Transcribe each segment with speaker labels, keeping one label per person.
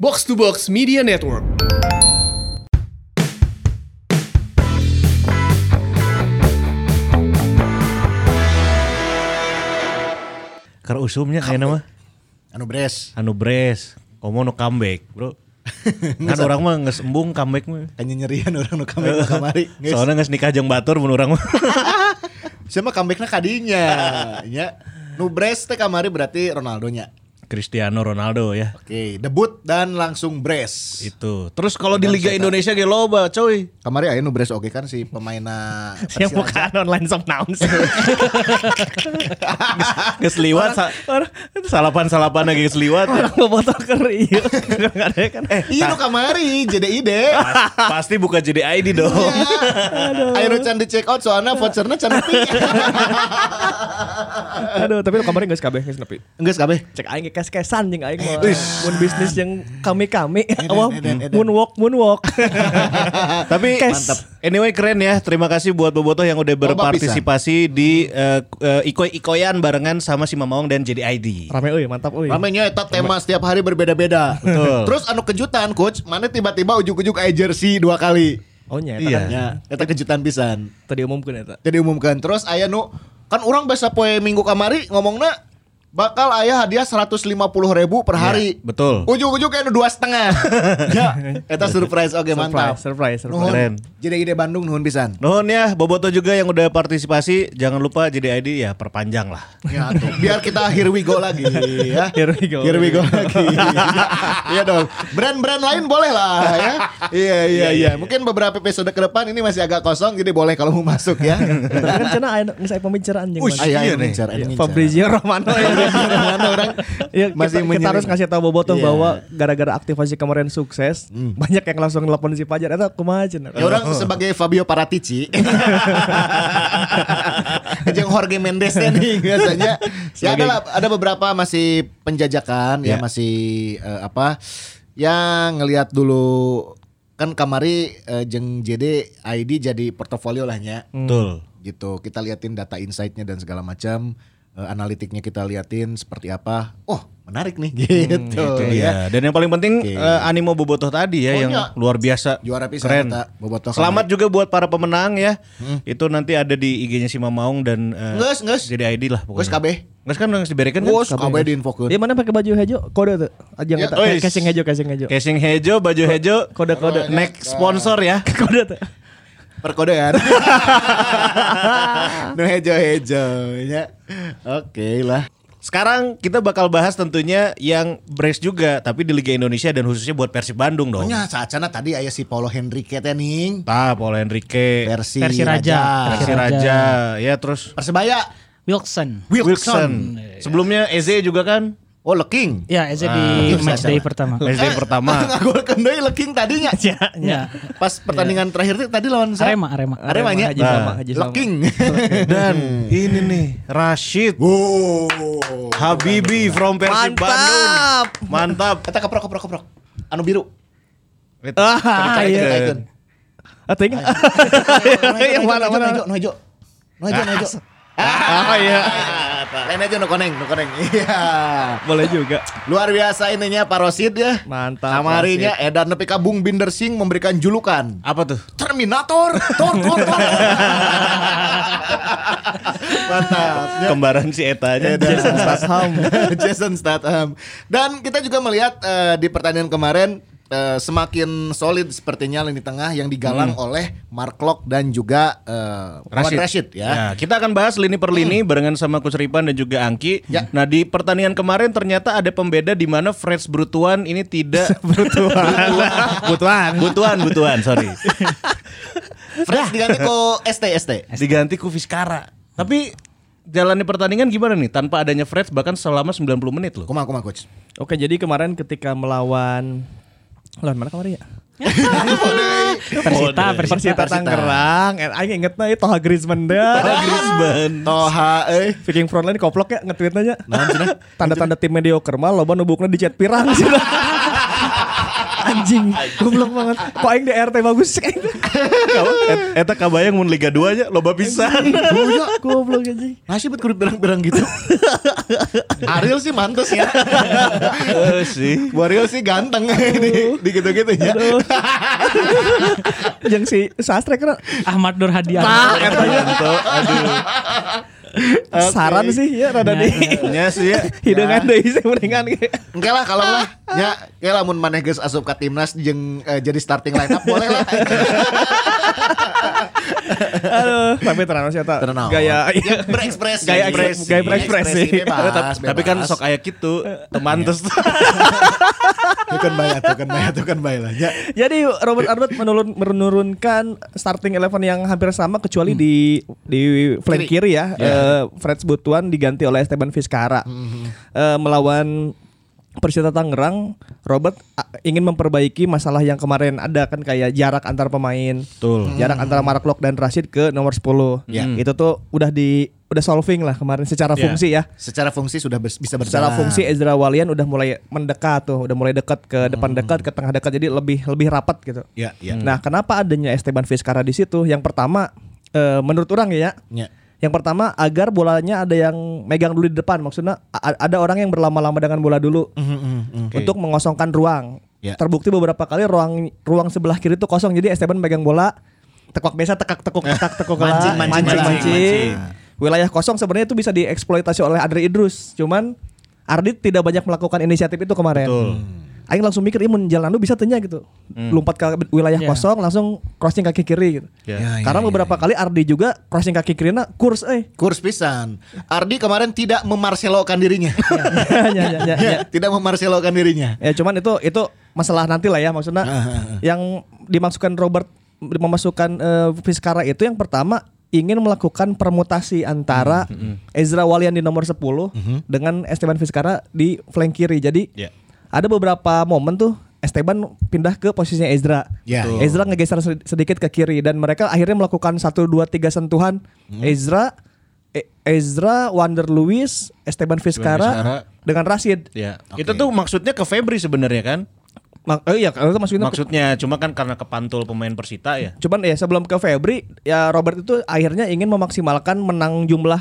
Speaker 1: Box to Box Media Network.
Speaker 2: Karena usumnya kayak nama
Speaker 3: Anu Bres,
Speaker 2: anu bres, komo nu comeback, Bro. kan orang mah geus embung comeback mah.
Speaker 3: kayaknya nyerian kan orang nu comeback nu kamari. Geus.
Speaker 2: Soalnya geus nikah jeung batur mun urang mah.
Speaker 3: Siapa comebacknya kadinya? ya. Nu Bres teh kamari berarti Ronaldo nya.
Speaker 2: Cristiano Ronaldo ya.
Speaker 3: Oke, debut dan langsung Bres.
Speaker 2: Itu. Terus kalau di Liga Indonesia ge loba, coy.
Speaker 3: Kamari aya nu Bres oke kan si pemainna
Speaker 2: Yang
Speaker 3: Persiraja.
Speaker 2: bukaan online shop naon sih. Geus liwat sa- salapan-salapan lagi geus liwat.
Speaker 4: bobotoh keri
Speaker 2: iya.
Speaker 4: ieu. Kadang-kadang kan eh
Speaker 3: Iya nu kamari, jadi ide.
Speaker 2: Pasti buka jadi ID dong.
Speaker 3: Ayo nu can di check out soalnya vouchernya can nepi.
Speaker 4: aduh tapi lu kemarin geus kabeh geus nepi.
Speaker 3: Geus kabeh.
Speaker 4: Cek aing ge kes-kesan jeung aing mah. Mun bisnis yang kami-kami awam
Speaker 3: edan, edan.
Speaker 4: moonwalk moonwalk.
Speaker 2: Tapi
Speaker 4: Kes.
Speaker 2: mantap. Anyway keren ya. Terima kasih buat Bobotoh yang udah berpartisipasi di eh, eh, ikoy-ikoyan barengan sama si Mamawang dan JDID.
Speaker 4: Rame euy, mantap euy.
Speaker 3: Ramenya eta tema setiap hari berbeda-beda.
Speaker 2: Betul.
Speaker 3: Terus anu kejutan coach, mana tiba-tiba ujuk-ujuk aya jersey dua kali.
Speaker 4: Oh nya
Speaker 2: Iya.
Speaker 4: eta kan
Speaker 3: Ya, eta kejutan pisan.
Speaker 4: tadi umumkeun eta.
Speaker 3: jadi umumkan terus ayah nu kan orang biasa poe minggu kamari ngomongna bakal ayah hadiah 150 ribu per
Speaker 4: Iya,
Speaker 3: hari
Speaker 2: Ya, betul.
Speaker 3: ujuk-ujuk kayak nu dua setengah ya eta surprise oke mantap
Speaker 4: Surprise, surprise, surprise.
Speaker 2: Keren.
Speaker 3: nuhun jadi ide Bandung nuhun pisan
Speaker 2: Nuhun ya Boboto juga yang udah partisipasi jangan lupa JDID ya perpanjang lah.
Speaker 3: ya, tuh. biar kita here we go lagi ya
Speaker 4: Here we go.
Speaker 3: here we go lagi Ya, iya dong brand-brand lain boleh lah ya iya iya iya mungkin beberapa episode ke depan ini masih agak kosong jadi boleh kalau mau masuk ya
Speaker 4: Tapi kan cenah aya geus aya pembicaraan jeung
Speaker 2: Ush,
Speaker 4: mana.
Speaker 3: Ayah,
Speaker 2: Iya
Speaker 3: ayah,
Speaker 2: nih.
Speaker 3: ngincar, ayah, ngincar.
Speaker 4: Fabrizio Romano ya.
Speaker 3: Mana orang
Speaker 4: Ya, kita, kita
Speaker 3: menyiring.
Speaker 4: harus kasih tahu Bobotoh
Speaker 3: Iya.
Speaker 4: bahwa gara-gara aktivasi kemarin sukses, banyak yang langsung nelpon si Pajar. Eta kumaha cenah?
Speaker 3: Ya orang sebagai Fabio Paratici. Jeung Jorge Mendes nih biasanya. Ya ada lah- ada beberapa masih penjajakan
Speaker 2: Ya.
Speaker 3: ya masih eh, apa yang ngelihat dulu kan kamari eh, jeung JD ID jadi portofolio lah nya
Speaker 2: Betul.
Speaker 3: gitu. Kita liatin data insight-nya dan segala macam eh, analitiknya kita liatin seperti apa. Oh, menarik nih
Speaker 2: Hmm,
Speaker 3: gitu ya.
Speaker 2: Iya. Dan yang paling penting
Speaker 3: Oke.
Speaker 2: eh, animo Bobotoh tadi ya
Speaker 3: Oh,
Speaker 2: yang
Speaker 3: iya.
Speaker 2: luar biasa.
Speaker 3: Juara pisan
Speaker 2: Keren.
Speaker 3: eta, Bobotoh Hmm.
Speaker 2: Selamat juga buat para pemenang ya. Itu nanti ada di IG-nya si Mamaung dan eh,
Speaker 3: Nges, nges.
Speaker 2: JDID lah pokoknya.
Speaker 3: Nges kabeh.
Speaker 2: Nges kan yang diberikan kan?
Speaker 3: Wos, kabeh diinfokeun.
Speaker 4: Dia mana pakai baju hijau? Kode tuh. Ajang
Speaker 3: Ya,
Speaker 4: eta.
Speaker 2: ois. Eh,
Speaker 4: Casing hijau, casing hijau.
Speaker 2: Casing hejo, baju hejo,
Speaker 4: Kode-kode.
Speaker 2: next sponsor ya.
Speaker 4: Kode tuh.
Speaker 3: perkodean. nu hejo-hejo ya. Oke lah.
Speaker 2: Sekarang kita bakal bahas tentunya yang brace juga, tapi di Liga Indonesia dan khususnya buat Persib Bandung dong.
Speaker 3: Pokoknya saacana tadi aya si Paulo Henrique teh ning.
Speaker 2: Tah, Paul Enrique,
Speaker 3: Versi,
Speaker 5: Versi Raja.
Speaker 2: Persiraja, Raja, ya terus
Speaker 3: Persebaya
Speaker 5: Wilson.
Speaker 3: Wilson.
Speaker 2: Wilson. Sebelumnya Eze juga kan,
Speaker 3: Oh Leking.
Speaker 5: Ya, Eze
Speaker 3: Ah.
Speaker 5: di match day pertama.
Speaker 2: Eze yang pertama.
Speaker 3: Ngagolkeun deui Leking tadinya.
Speaker 4: Iya.
Speaker 5: Ya.
Speaker 3: Pas pertandingan terakhir teh tadi lawan siapa?
Speaker 5: Arema, Arema.
Speaker 3: Arema nya. Nah.
Speaker 4: Haji Salma, Haji Salma.
Speaker 3: Leking.
Speaker 2: Dan ini nih Rashid
Speaker 3: Wow.
Speaker 2: Habibi from Persib
Speaker 4: Mantap.
Speaker 2: Bandung. Mantap.
Speaker 3: Eta keprok keprok keprok. Anu biru.
Speaker 2: Ah,
Speaker 5: iya.
Speaker 3: Ceritaikeun.
Speaker 4: Atau Ah, ingat?
Speaker 2: Iya,
Speaker 3: Yang mana mana? Nu hejo. Nu hejo, nu hejo.
Speaker 2: Ah, iya.
Speaker 3: Lain aja nu koneng, nu koneng. Iya.
Speaker 4: Boleh juga.
Speaker 3: Luar biasa ininya Parosid ya.
Speaker 4: Mantap,
Speaker 3: Kamarinya Edan nepi ka Bung Binder Singh memberikan julukan
Speaker 2: Apa tuh?
Speaker 3: Terminator. Tor tor tor. Mantap.
Speaker 2: Kembaran si Etanya.
Speaker 3: Jason Statham. Jason Statham. Dan kita juga melihat eh, di pertandingan kemarin eh, semakin solid sepertinya lini tengah yang digalang oleh Mark Locke dan juga eh, Muhammad
Speaker 2: Rashid.
Speaker 3: Hmm. Rashid ya.
Speaker 2: Ya, Hmm. kita akan bahas lini per lini barengan sama Coach Ripan dan juga Angki.
Speaker 3: Ya.
Speaker 2: Nah, di pertandingan kemarin ternyata ada pembeda di mana Freds Brutuan ini tidak
Speaker 4: Butuhan.
Speaker 2: Butuan, Butuan, sorry.
Speaker 3: Fresh diganti ke ST ST.
Speaker 2: Diganti ku Fiskara. Tapi jalannya pertandingan gimana nih tanpa adanya Freds bahkan selama 90 menit loh.
Speaker 3: Kumaha kumaha coach.
Speaker 4: Oke, jadi kemarin ketika melawan lawan mana kemarin ya?
Speaker 5: Persita, Persita.
Speaker 4: Persita
Speaker 3: Persita.
Speaker 4: Tangerang. Eh, Aing inget nih Toha Griezmann deh.
Speaker 2: Griezmann.
Speaker 3: Toha eh. euy.
Speaker 4: Viking Frontline koplok ya nge-tweet nanya. Tanda-tanda tim mediocre mah loba nubukna di chat pirang sih. Anjing, goblok banget. Kok aing di RT bagus gitu? cek aing.
Speaker 2: Eta- Eta kabayang mun Liga 2 nya loba pisan.
Speaker 4: Goblok anjing.
Speaker 3: Masih buat kulit berang-berang gitu. Ariel sih mantes ya.
Speaker 2: Eh, sih.
Speaker 3: Bu Ariel sih ganteng di, di gitu-gitu ya.
Speaker 4: Yang si sastra kan
Speaker 5: Ahmad Nur Hadian.
Speaker 2: Iya. Yanto, aduh.
Speaker 4: saran sih ya rada di
Speaker 2: Nya sih ya.
Speaker 4: hidangan deui sih mendingan.
Speaker 3: Enggak lah kalau lah. Ya, ya lamun maneh geus asup ka timnas jeung eh, jadi starting line up boleh lah.
Speaker 4: Aduh, tapi terang sih eta
Speaker 3: Tenang.
Speaker 4: gaya
Speaker 3: ya, berekspresi.
Speaker 4: Gaya- gaya berekspresi.
Speaker 3: Bebas,
Speaker 2: Tapi kan
Speaker 3: bebas.
Speaker 2: sok aya gitu, teman terus.
Speaker 3: Bukan bayar, bukan bayar, bukan bayar lah. kan Ya.
Speaker 4: Jadi Robert Arbet menurun menurunkan starting eleven yang hampir sama kecuali di di flank
Speaker 3: Kiri.
Speaker 4: kiri ya. Eh, Fred Butuan diganti oleh Esteban Vizcara. Eh, melawan Persita Tangerang, Robert ah, ingin memperbaiki masalah yang kemarin ada kan kayak jarak antar pemain.
Speaker 2: Betul.
Speaker 4: Jarak antara Marklock dan Rashid ke nomor 10.
Speaker 3: Ya.
Speaker 4: Itu tuh udah di udah solving lah kemarin secara
Speaker 2: Ya.
Speaker 4: fungsi ya.
Speaker 3: Secara fungsi sudah bers- bisa berjalan.
Speaker 4: Secara fungsi e- Ezra Walian udah mulai mendekat tuh, udah mulai dekat ke depan dekat, ke tengah dekat jadi lebih lebih rapat gitu.
Speaker 3: Hmm. Ya, ya.
Speaker 4: Nah, kenapa adanya Esteban Vizcara di situ? Yang pertama eh, menurut orang ya,
Speaker 3: Ya.
Speaker 4: yang pertama agar bolanya ada yang megang dulu di depan, maksudnya a- ada orang yang berlama-lama dengan bola dulu
Speaker 3: Hmm.
Speaker 4: untuk mengosongkan ruang.
Speaker 3: Ya.
Speaker 4: Terbukti beberapa kali ruang ruang sebelah kiri itu kosong, jadi Esteban megang bola, tekuk biasa tekak tekuk tekak tekuk lah,
Speaker 3: Mancing, mancing, mancing, mancing.
Speaker 4: Wilayah kosong sebenarnya itu bisa dieksploitasi oleh Andre Idrus, cuman Ardit tidak banyak melakukan inisiatif itu kemarin. Hmm. Aing langsung mikir, imun jalan lu bisa tanya gitu.
Speaker 3: Hmm.
Speaker 4: Lompat ke wilayah
Speaker 5: Iya.
Speaker 4: kosong, langsung crossing kaki kiri gitu.
Speaker 2: Ya.
Speaker 3: Ya,
Speaker 4: Karena
Speaker 3: ya,
Speaker 4: beberapa kali Ardi juga crossing kaki kirinya kurs eh.
Speaker 3: Kurs pisan. Ardi kemarin tidak memarselokan dirinya.
Speaker 4: ya, ya, ya, ya.
Speaker 3: Ya, tidak memarselokan dirinya.
Speaker 4: Ya, cuman itu itu masalah nanti lah ya maksudnya yang dimaksudkan Robert memasukkan eh, Vizcara itu yang pertama ingin melakukan permutasi antara Ezra Walian di nomor 10 dengan Esteban Vizcara di flank kiri. Jadi
Speaker 2: Ya.
Speaker 4: ada beberapa momen tuh Esteban pindah ke posisinya Ezra.
Speaker 3: Ya. Betul.
Speaker 4: Ezra ngegeser sed- sedikit ke kiri dan mereka akhirnya melakukan 1 2 3 sentuhan. Ezra E- Ezra, Wander Lewis, Esteban
Speaker 2: Vizcara.
Speaker 4: Vizcara dengan Rashid.
Speaker 2: Ya.
Speaker 3: Oke.
Speaker 2: Itu tuh maksudnya ke Febri sebenarnya kan?
Speaker 4: Mak- eh, iya, kalau itu masukin ke-
Speaker 2: Maksudnya cuma kan karena kepantul pemain Persita ya.
Speaker 4: Cuman ya sebelum ke Febri, ya Robert itu akhirnya ingin memaksimalkan menang jumlah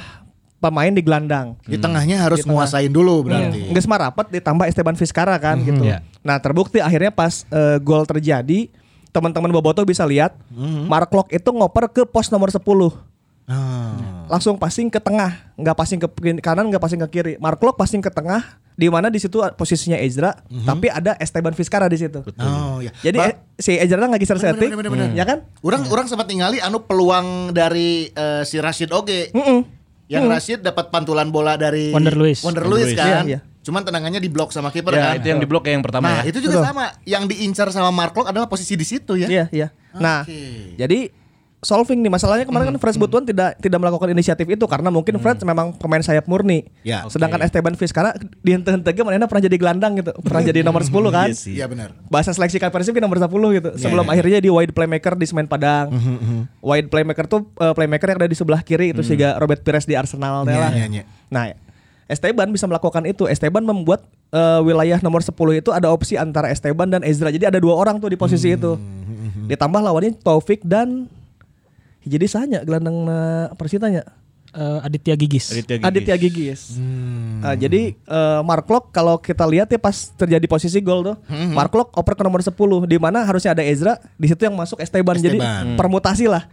Speaker 4: pemain di gelandang.
Speaker 3: Di tengahnya harus menguasain dulu berarti.
Speaker 4: Iya.
Speaker 3: Mhm.
Speaker 4: Nggak semarapat ditambah Esteban Vizcara kan gitu.
Speaker 2: Iya.
Speaker 4: Nah terbukti akhirnya pas eh, gol terjadi, teman-teman Boboto bisa lihat
Speaker 3: Mhm.
Speaker 4: Mark Locke itu ngoper ke pos nomor 10.
Speaker 3: Ah.
Speaker 4: Langsung passing ke tengah, nggak passing ke kin- kanan, nggak passing ke kiri. Mark Locke passing ke tengah, di mana di situ posisinya Ezra, tapi ada Esteban Vizcara di situ.
Speaker 3: Oh ya.
Speaker 4: Jadi
Speaker 3: Mhm. Ba-
Speaker 4: eh, si Ezra nggak geser
Speaker 3: Bener,
Speaker 4: setting,
Speaker 3: bener, bener, bener.
Speaker 4: ya kan?
Speaker 3: Orang orang sempat ningali anu peluang dari eh, si Rashid Oge. Yang Rashid dapat pantulan bola dari
Speaker 5: Wander Luiz.
Speaker 3: Wander Luiz
Speaker 2: Wander Luiz.
Speaker 3: kan.
Speaker 4: Iya, iya.
Speaker 3: Cuman tendangannya diblok sama kiper
Speaker 2: Ya,
Speaker 3: kan.
Speaker 2: itu yang di blok ya yang pertama
Speaker 3: nah,
Speaker 2: ya.
Speaker 3: itu juga
Speaker 4: Betul.
Speaker 3: sama. Yang diincar sama Mark Locke adalah posisi di situ ya.
Speaker 4: Iya, iya. Nah,
Speaker 3: Oke. Hmm,
Speaker 4: jadi solving nih masalahnya kemarin kan Fred Butuan tidak tidak melakukan inisiatif itu karena mungkin Fred memang pemain sayap murni.
Speaker 3: Ya, oke.
Speaker 4: Sedangkan Esteban Vizcara di hente-hente mana pernah jadi gelandang gitu, pernah jadi nomor 10 kan.
Speaker 2: Iya sih.
Speaker 3: Iya benar.
Speaker 4: Bahasa seleksi Persib kan nomor 10 gitu.
Speaker 3: Iya,
Speaker 4: Sebelum akhirnya di wide playmaker di Semen Padang.
Speaker 3: Mhm,
Speaker 4: Wide playmaker tuh eh, playmaker yang ada di sebelah kiri itu sehingga Robert Pires di Arsenal teh
Speaker 3: Iya,
Speaker 4: lah.
Speaker 3: iya, iya.
Speaker 4: Nah, Esteban bisa melakukan itu. Esteban membuat eh, wilayah nomor 10 itu ada opsi antara Esteban dan Ezra. Jadi ada dua orang tuh di posisi
Speaker 3: Mhm,
Speaker 4: itu. Ditambah lawannya Taufik dan jadi sahanya gelandang eh, Persitanya.
Speaker 5: Eh, Aditya Gigis.
Speaker 2: Aditya Gigis.
Speaker 4: Aditya Gigis. Ah, jadi eh, Mark Locke kalau kita lihat ya pas terjadi posisi gol tuh, Mark Locke oper ke nomor 10 di mana harusnya ada Ezra, di situ yang masuk Esteban, jadi
Speaker 3: Esteban.
Speaker 4: permutasi lah.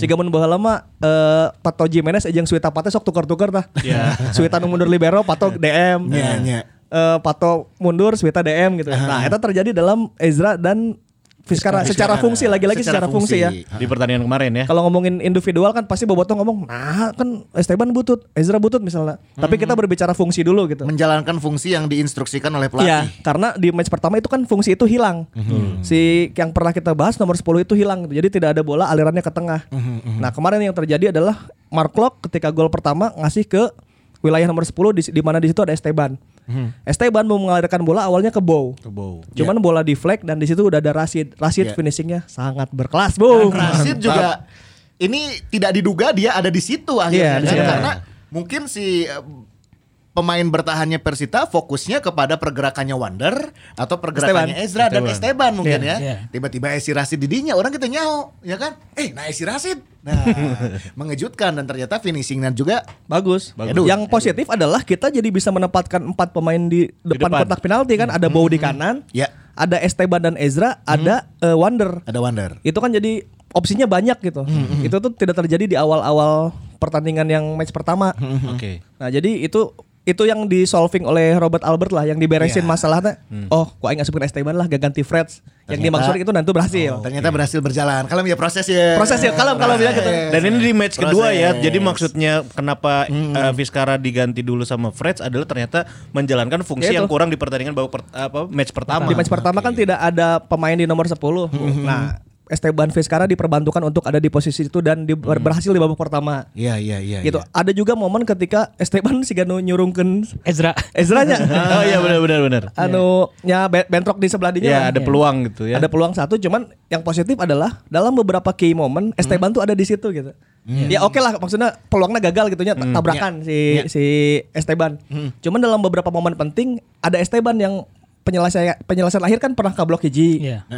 Speaker 4: Sehingga mun baheula mah eh, Pato Jimenez jeung Suita Pate sok tukar-tukar tah.
Speaker 2: Iya.
Speaker 4: Suita nu mundur libero, Pato DM.
Speaker 3: Iya, iya.
Speaker 4: Eh, Pato mundur, Suita DM gitu. Nah, itu terjadi dalam Ezra dan Vizcara secara fungsi lagi-lagi secara, fungsi ya.
Speaker 2: Di pertandingan kemarin ya.
Speaker 4: Kalau ngomongin individual kan pasti Bobotoh ngomong, nah kan Esteban butut, Ezra butut misalnya. Tapi kita berbicara fungsi dulu gitu.
Speaker 3: Menjalankan fungsi yang diinstruksikan oleh
Speaker 4: Iya,
Speaker 3: pelatih.
Speaker 4: karena di match pertama itu kan fungsi itu hilang. Si yang pernah kita bahas nomor 10 itu hilang. gitu. Jadi tidak ada bola alirannya ke tengah. Nah, kemarin yang terjadi adalah Mark Locke ketika gol pertama ngasih ke wilayah nomor 10 di, di mana di situ ada Esteban. Esteban mau mengalirkan bola awalnya Mhm. ke Bow. Iya. Cuman bola di flag dan di situ udah ada Rashid.
Speaker 3: Iya.
Speaker 4: Rashid finishingnya sangat berkelas, Bow.
Speaker 3: Rashid juga ini tidak diduga dia ada di situ
Speaker 4: Iya,
Speaker 3: akhirnya
Speaker 4: di
Speaker 3: kan?
Speaker 4: situ.
Speaker 3: karena mungkin si eh, pemain bertahannya Persita fokusnya kepada pergerakannya Wander atau pergerakannya Ezra dan Esteban mungkin ya.
Speaker 5: Iya, iya.
Speaker 3: Tiba-tiba Esi Rasid didinya orang kita nyaho, ya kan? Eh, nah Esi Rasid. Nah, mengejutkan dan ternyata finishingnya juga
Speaker 4: Bagus.
Speaker 3: Bagus.
Speaker 4: Yang positif adalah kita jadi bisa menempatkan empat pemain di depan,
Speaker 2: depan.
Speaker 4: kotak penalti kan. Ada Bow di kanan,
Speaker 3: Ya. Hmm.
Speaker 4: ada Esteban dan Ezra, ada eh, Wander.
Speaker 3: ada Wander.
Speaker 4: Itu kan jadi opsinya banyak
Speaker 3: Hmm,
Speaker 4: gitu. Itu tuh tidak terjadi di awal-awal pertandingan yang match pertama.
Speaker 3: Hmm,
Speaker 2: Oke.
Speaker 4: Nah jadi itu itu yang di solving oleh Robert Albert lah yang
Speaker 3: Ya.
Speaker 4: diberesin masalahnya.
Speaker 3: Hmm.
Speaker 4: Oh, ku aing asupin Esteban lah gak ganti Freds. Yang dimaksud itu nanti
Speaker 3: Oh,
Speaker 4: berhasil.
Speaker 3: Ternyata berhasil berjalan. Kalau ya proses ya.
Speaker 4: Proses ya, kalem, kalem ya, gitu.
Speaker 2: Dan ini di match kedua ya.
Speaker 3: Proses.
Speaker 2: Jadi maksudnya kenapa eh, Vizcara diganti dulu sama Freds adalah ternyata menjalankan fungsi
Speaker 4: Ya itu.
Speaker 2: yang kurang di pertandingan babak per- apa match pertama. Mm-hmm.
Speaker 4: Di match pertama kan tidak ada pemain di nomor 10. Nah, Esteban Vizcarra diperbantukan untuk ada di posisi itu dan di-
Speaker 2: Mm-hmm.
Speaker 4: ber- berhasil di babak pertama.
Speaker 3: Iya, iya, iya.
Speaker 4: Gitu. Ada juga momen ketika Esteban si Gano nyurungkan
Speaker 5: Ezra.
Speaker 4: Ezra-nya.
Speaker 2: oh iya benar benar benar.
Speaker 4: anu ya be- bentrok di sebelah dinya.
Speaker 2: Ya
Speaker 4: lah.
Speaker 2: ada peluang gitu ya.
Speaker 4: iya. Ada peluang satu cuman yang positif adalah dalam beberapa key moment Esteban tuh ada di situ gitu. Ya oke lah maksudnya peluangnya gagal gitu ya Hmm. tabrakan si si Esteban. Cuman dalam beberapa momen penting ada Esteban yang penyelesaian penyelesaian akhir kan pernah kablok hiji.
Speaker 5: Iya.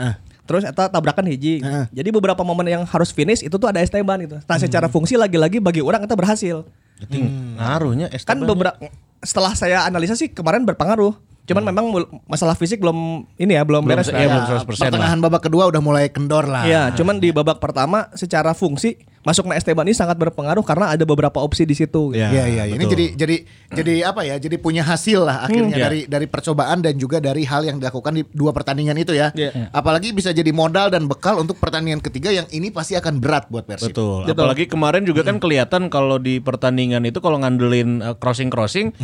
Speaker 4: Terus eta tabrakan hiji. Jadi beberapa momen yang harus finish itu tuh ada Esteban gitu. Nah, secara fungsi lagi-lagi bagi orang eta berhasil.
Speaker 2: Hmm. Ngaruhnya
Speaker 4: Kan
Speaker 2: Esteban.
Speaker 4: beberapa setelah saya analisa sih kemarin berpengaruh. Cuman memang mul- masalah fisik belum ini ya Hmm. belum,
Speaker 2: Belum
Speaker 4: beres.
Speaker 2: se- iya,
Speaker 4: Ya.
Speaker 2: belum 100% lah.
Speaker 3: Nah, Pertengahan babak kedua udah mulai kendor lah.
Speaker 4: Iya, cuman di babak pertama secara fungsi masuk Esteban ini sangat berpengaruh karena ada beberapa opsi di situ. gitu.
Speaker 2: Ya,
Speaker 3: Iya iya ini
Speaker 2: betul.
Speaker 3: jadi jadi jadi apa ya? Jadi punya hasil lah akhirnya
Speaker 2: Hmm.
Speaker 3: dari dari percobaan dan juga dari hal yang dilakukan di dua pertandingan itu ya.
Speaker 4: Iya.
Speaker 3: Apalagi bisa jadi modal dan bekal untuk pertandingan ketiga yang ini pasti akan berat buat Persib.
Speaker 2: Betul. Apalagi kemarin juga kan kelihatan kalau di pertandingan itu kalau ngandelin uh, crossing-crossing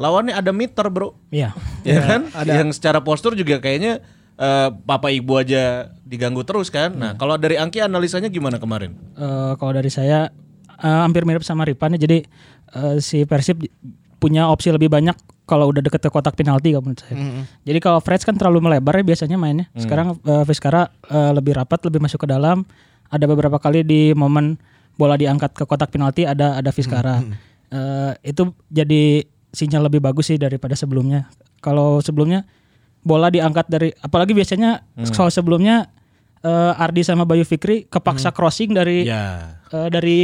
Speaker 2: lawannya ada meter, Bro.
Speaker 5: Iya.
Speaker 2: Ya, kan? Yang secara postur juga kayaknya eh, Papa Ibu aja diganggu terus kan. Nah, kalau dari Angki analisanya gimana kemarin?
Speaker 5: Eh, kalau dari saya eh, hampir mirip sama Ripan ya. Jadi eh, si Persib di- punya opsi lebih banyak kalau udah deket ke kotak penalti kalau menurut saya. Jadi kalau Freds kan terlalu melebar ya biasanya mainnya. Sekarang eh, Vizcara eh, lebih rapat, lebih masuk ke dalam. Ada beberapa kali di momen bola diangkat ke kotak penalti ada ada Vizcara. Eh, itu jadi sinyal lebih bagus sih daripada sebelumnya. Kalau sebelumnya bola diangkat dari apalagi biasanya kalau sebelumnya eh, Ardi sama Bayu Fikri kepaksa crossing dari
Speaker 2: Ya,
Speaker 5: eh, dari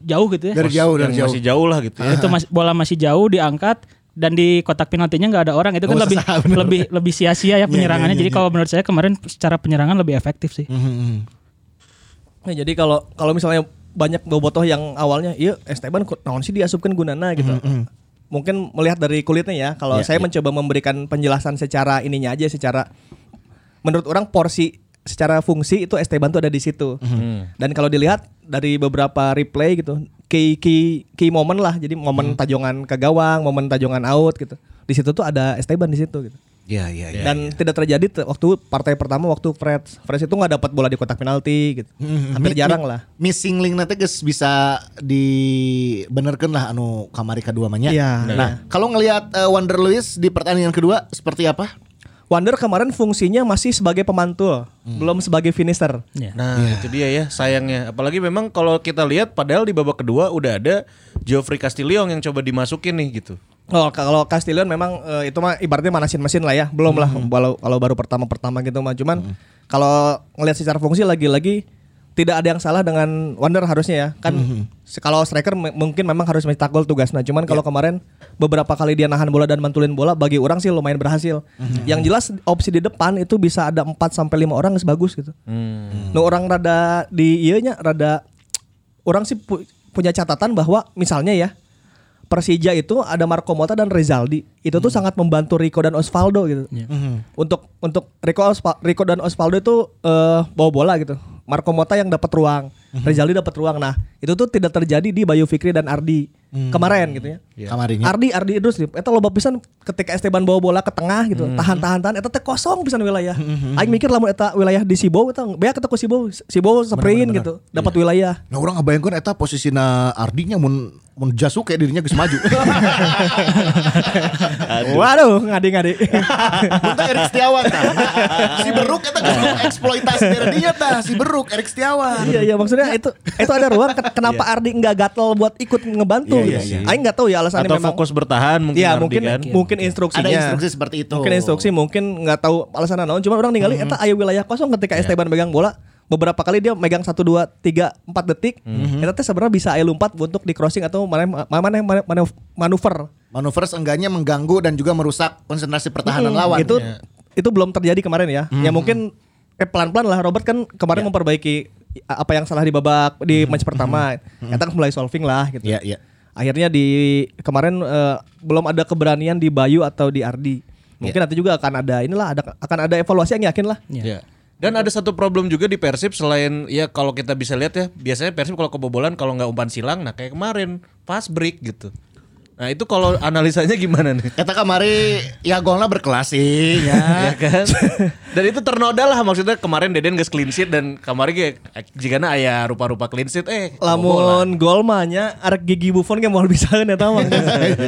Speaker 5: jauh gitu ya.
Speaker 3: Dari jauh dari
Speaker 2: yang
Speaker 3: jauh.
Speaker 2: masih jauh lah gitu ya.
Speaker 5: Itu mas- bola masih jauh diangkat dan di kotak penaltinya nggak ada orang itu kan
Speaker 3: Nggak
Speaker 5: lebih
Speaker 3: usah, Oh, bener.
Speaker 5: lebih lebih sia-sia ya penyerangannya.
Speaker 3: iya,
Speaker 5: Jadi kalau menurut saya kemarin secara penyerangan lebih efektif sih.
Speaker 4: Nah, jadi kalau kalau misalnya banyak bobotoh yang awalnya, iya Esteban ku- naon sih diasupkan gunana gitu. Mungkin melihat dari kulitnya ya. Kalau saya mencoba memberikan penjelasan secara ininya aja secara menurut orang porsi secara fungsi itu Esteban tuh ada di situ. Dan kalau dilihat dari beberapa replay gitu, key key key moment lah. Jadi momen tajongan ke gawang, momen tajongan out gitu. Di situ tuh ada Esteban di situ gitu.
Speaker 3: Iya iya iya.
Speaker 4: Dan tidak terjadi te- waktu partai pertama waktu Fred Fred itu nggak dapat bola di kotak penalti
Speaker 3: Hmm,
Speaker 4: gitu. Hampir
Speaker 3: Mi-
Speaker 4: jarang
Speaker 3: mi-
Speaker 4: lah.
Speaker 3: Missing link nanti geus bisa dibenerkan lah anu kamari kedua mah nya.
Speaker 4: Iya.
Speaker 3: Nah, kalau ngelihat eh, Wander Lewis di pertandingan kedua seperti apa?
Speaker 4: Wander kemarin fungsinya masih sebagai pemantul,
Speaker 3: Hmm.
Speaker 4: belum sebagai finisher.
Speaker 5: Ya.
Speaker 2: Nah, itu dia ya sayangnya. Apalagi memang kalau kita lihat padahal di babak kedua udah ada Geoffrey Castillion yang coba dimasukin nih gitu.
Speaker 4: Oh, kalau Castillion memang eh, itu mah ibaratnya manasin mesin lah ya, belum lah kalau kalau baru pertama-pertama gitu mah. Cuman kalau ngelihat secara fungsi lagi-lagi tidak ada yang salah dengan Wander harusnya ya. Kan se- kalau striker m- mungkin memang harus mencetak gol tugasnya. Cuman kalau kemarin beberapa kali dia nahan bola dan mantulin bola bagi orang sih lumayan berhasil. Yang jelas opsi di depan itu bisa ada 4 sampai 5 orang yang bagus gitu. Nu orang rada di ieu nya rada orang sih pu- punya catatan bahwa misalnya ya Persija itu ada Marco Mota dan Rezaldi. Itu tuh sangat membantu Rico dan Osvaldo gitu. Untuk untuk Rico Ospa- Rico dan Osvaldo itu eh, bawa bola gitu. Marco Mota yang dapat ruang, Rezaldi dapat ruang. Nah, itu tuh tidak terjadi di Bayu Fikri dan Ardi kemarin gitu ya.
Speaker 3: Kamarinya.
Speaker 4: Ardi Ardi Idrus nih. Eta loba pisan ketika Esteban bawa bola ke tengah gitu.
Speaker 2: Hmm.
Speaker 4: Tahan tahan tahan eta teh kosong pisan wilayah. Aing mikir lamun eta wilayah di Sibow eta bea kata ku Sibow, Sibow sprint gitu. Dapat
Speaker 2: Iya.
Speaker 4: wilayah.
Speaker 3: Nah orang ngebayangkan eta posisina Ardinya mun mun jasu kayak dirinya geus maju.
Speaker 4: Waduh, ngadi-ngadi.
Speaker 3: Bentar Erik Setiawan tah. Si Beruk eta geus eksploitasi dirinya tah, si Beruk Erik Setiawan.
Speaker 4: Iya iya maksudnya itu itu ada ruang ken- kenapa Ardi nggak gatel buat ikut ngebantu
Speaker 2: Iya, iya,
Speaker 4: gitu.
Speaker 2: iya.
Speaker 4: Aing nggak tahu ya alasannya
Speaker 2: atau
Speaker 4: memang
Speaker 2: fokus bertahan mungkin
Speaker 4: ya
Speaker 2: Ardi
Speaker 4: mungkin
Speaker 2: kan?
Speaker 4: mungkin instruksinya
Speaker 3: Ada instruksi seperti itu. Mm-hmm.
Speaker 4: mungkin instruksi mungkin nggak tahu alasan naon cuma orang ningali eta aya wilayah kosong ketika
Speaker 3: Iya.
Speaker 4: Esteban megang bola beberapa kali dia megang 1 2 3 4 detik
Speaker 3: Mm-hmm.
Speaker 4: eta teh sebenarnya bisa aya lompat untuk di crossing atau mana mana mana- mana- mana- manuver
Speaker 3: Manuver seenggaknya mengganggu dan juga merusak konsentrasi pertahanan
Speaker 4: Hmm,
Speaker 3: lawan.
Speaker 4: itu
Speaker 3: Ya.
Speaker 4: itu belum terjadi kemarin ya
Speaker 3: Mm-hmm.
Speaker 4: ya mungkin eh, pelan-pelan lah Robert kan kemarin
Speaker 3: Iya.
Speaker 4: memperbaiki a- apa yang salah di babak di match pertama kita mulai solving lah gitu
Speaker 3: Mm-hmm. Iya, iya.
Speaker 4: akhirnya di kemarin eh, belum ada keberanian di Bayu atau di
Speaker 3: Iya.
Speaker 4: Ardi mungkin nanti juga akan ada inilah ada akan ada evaluasi yang yakin lah
Speaker 2: Ya. Dan ada satu problem juga di Persib selain ya kalau kita bisa lihat ya biasanya Persib kalau kebobolan kalau nggak umpan silang nah kayak kemarin fast break gitu. Nah itu kalau analisanya gimana nih?
Speaker 3: Kata kemari ya golnya berkelas sih ya.
Speaker 2: ya kan? dan itu ternoda lah maksudnya kemarin Deden gak clean sheet dan kemarin ge jika ayah rupa-rupa clean sheet eh kebobolan.
Speaker 4: lamun gol mah nya arek gigi Buffon ge moal bisa eta mah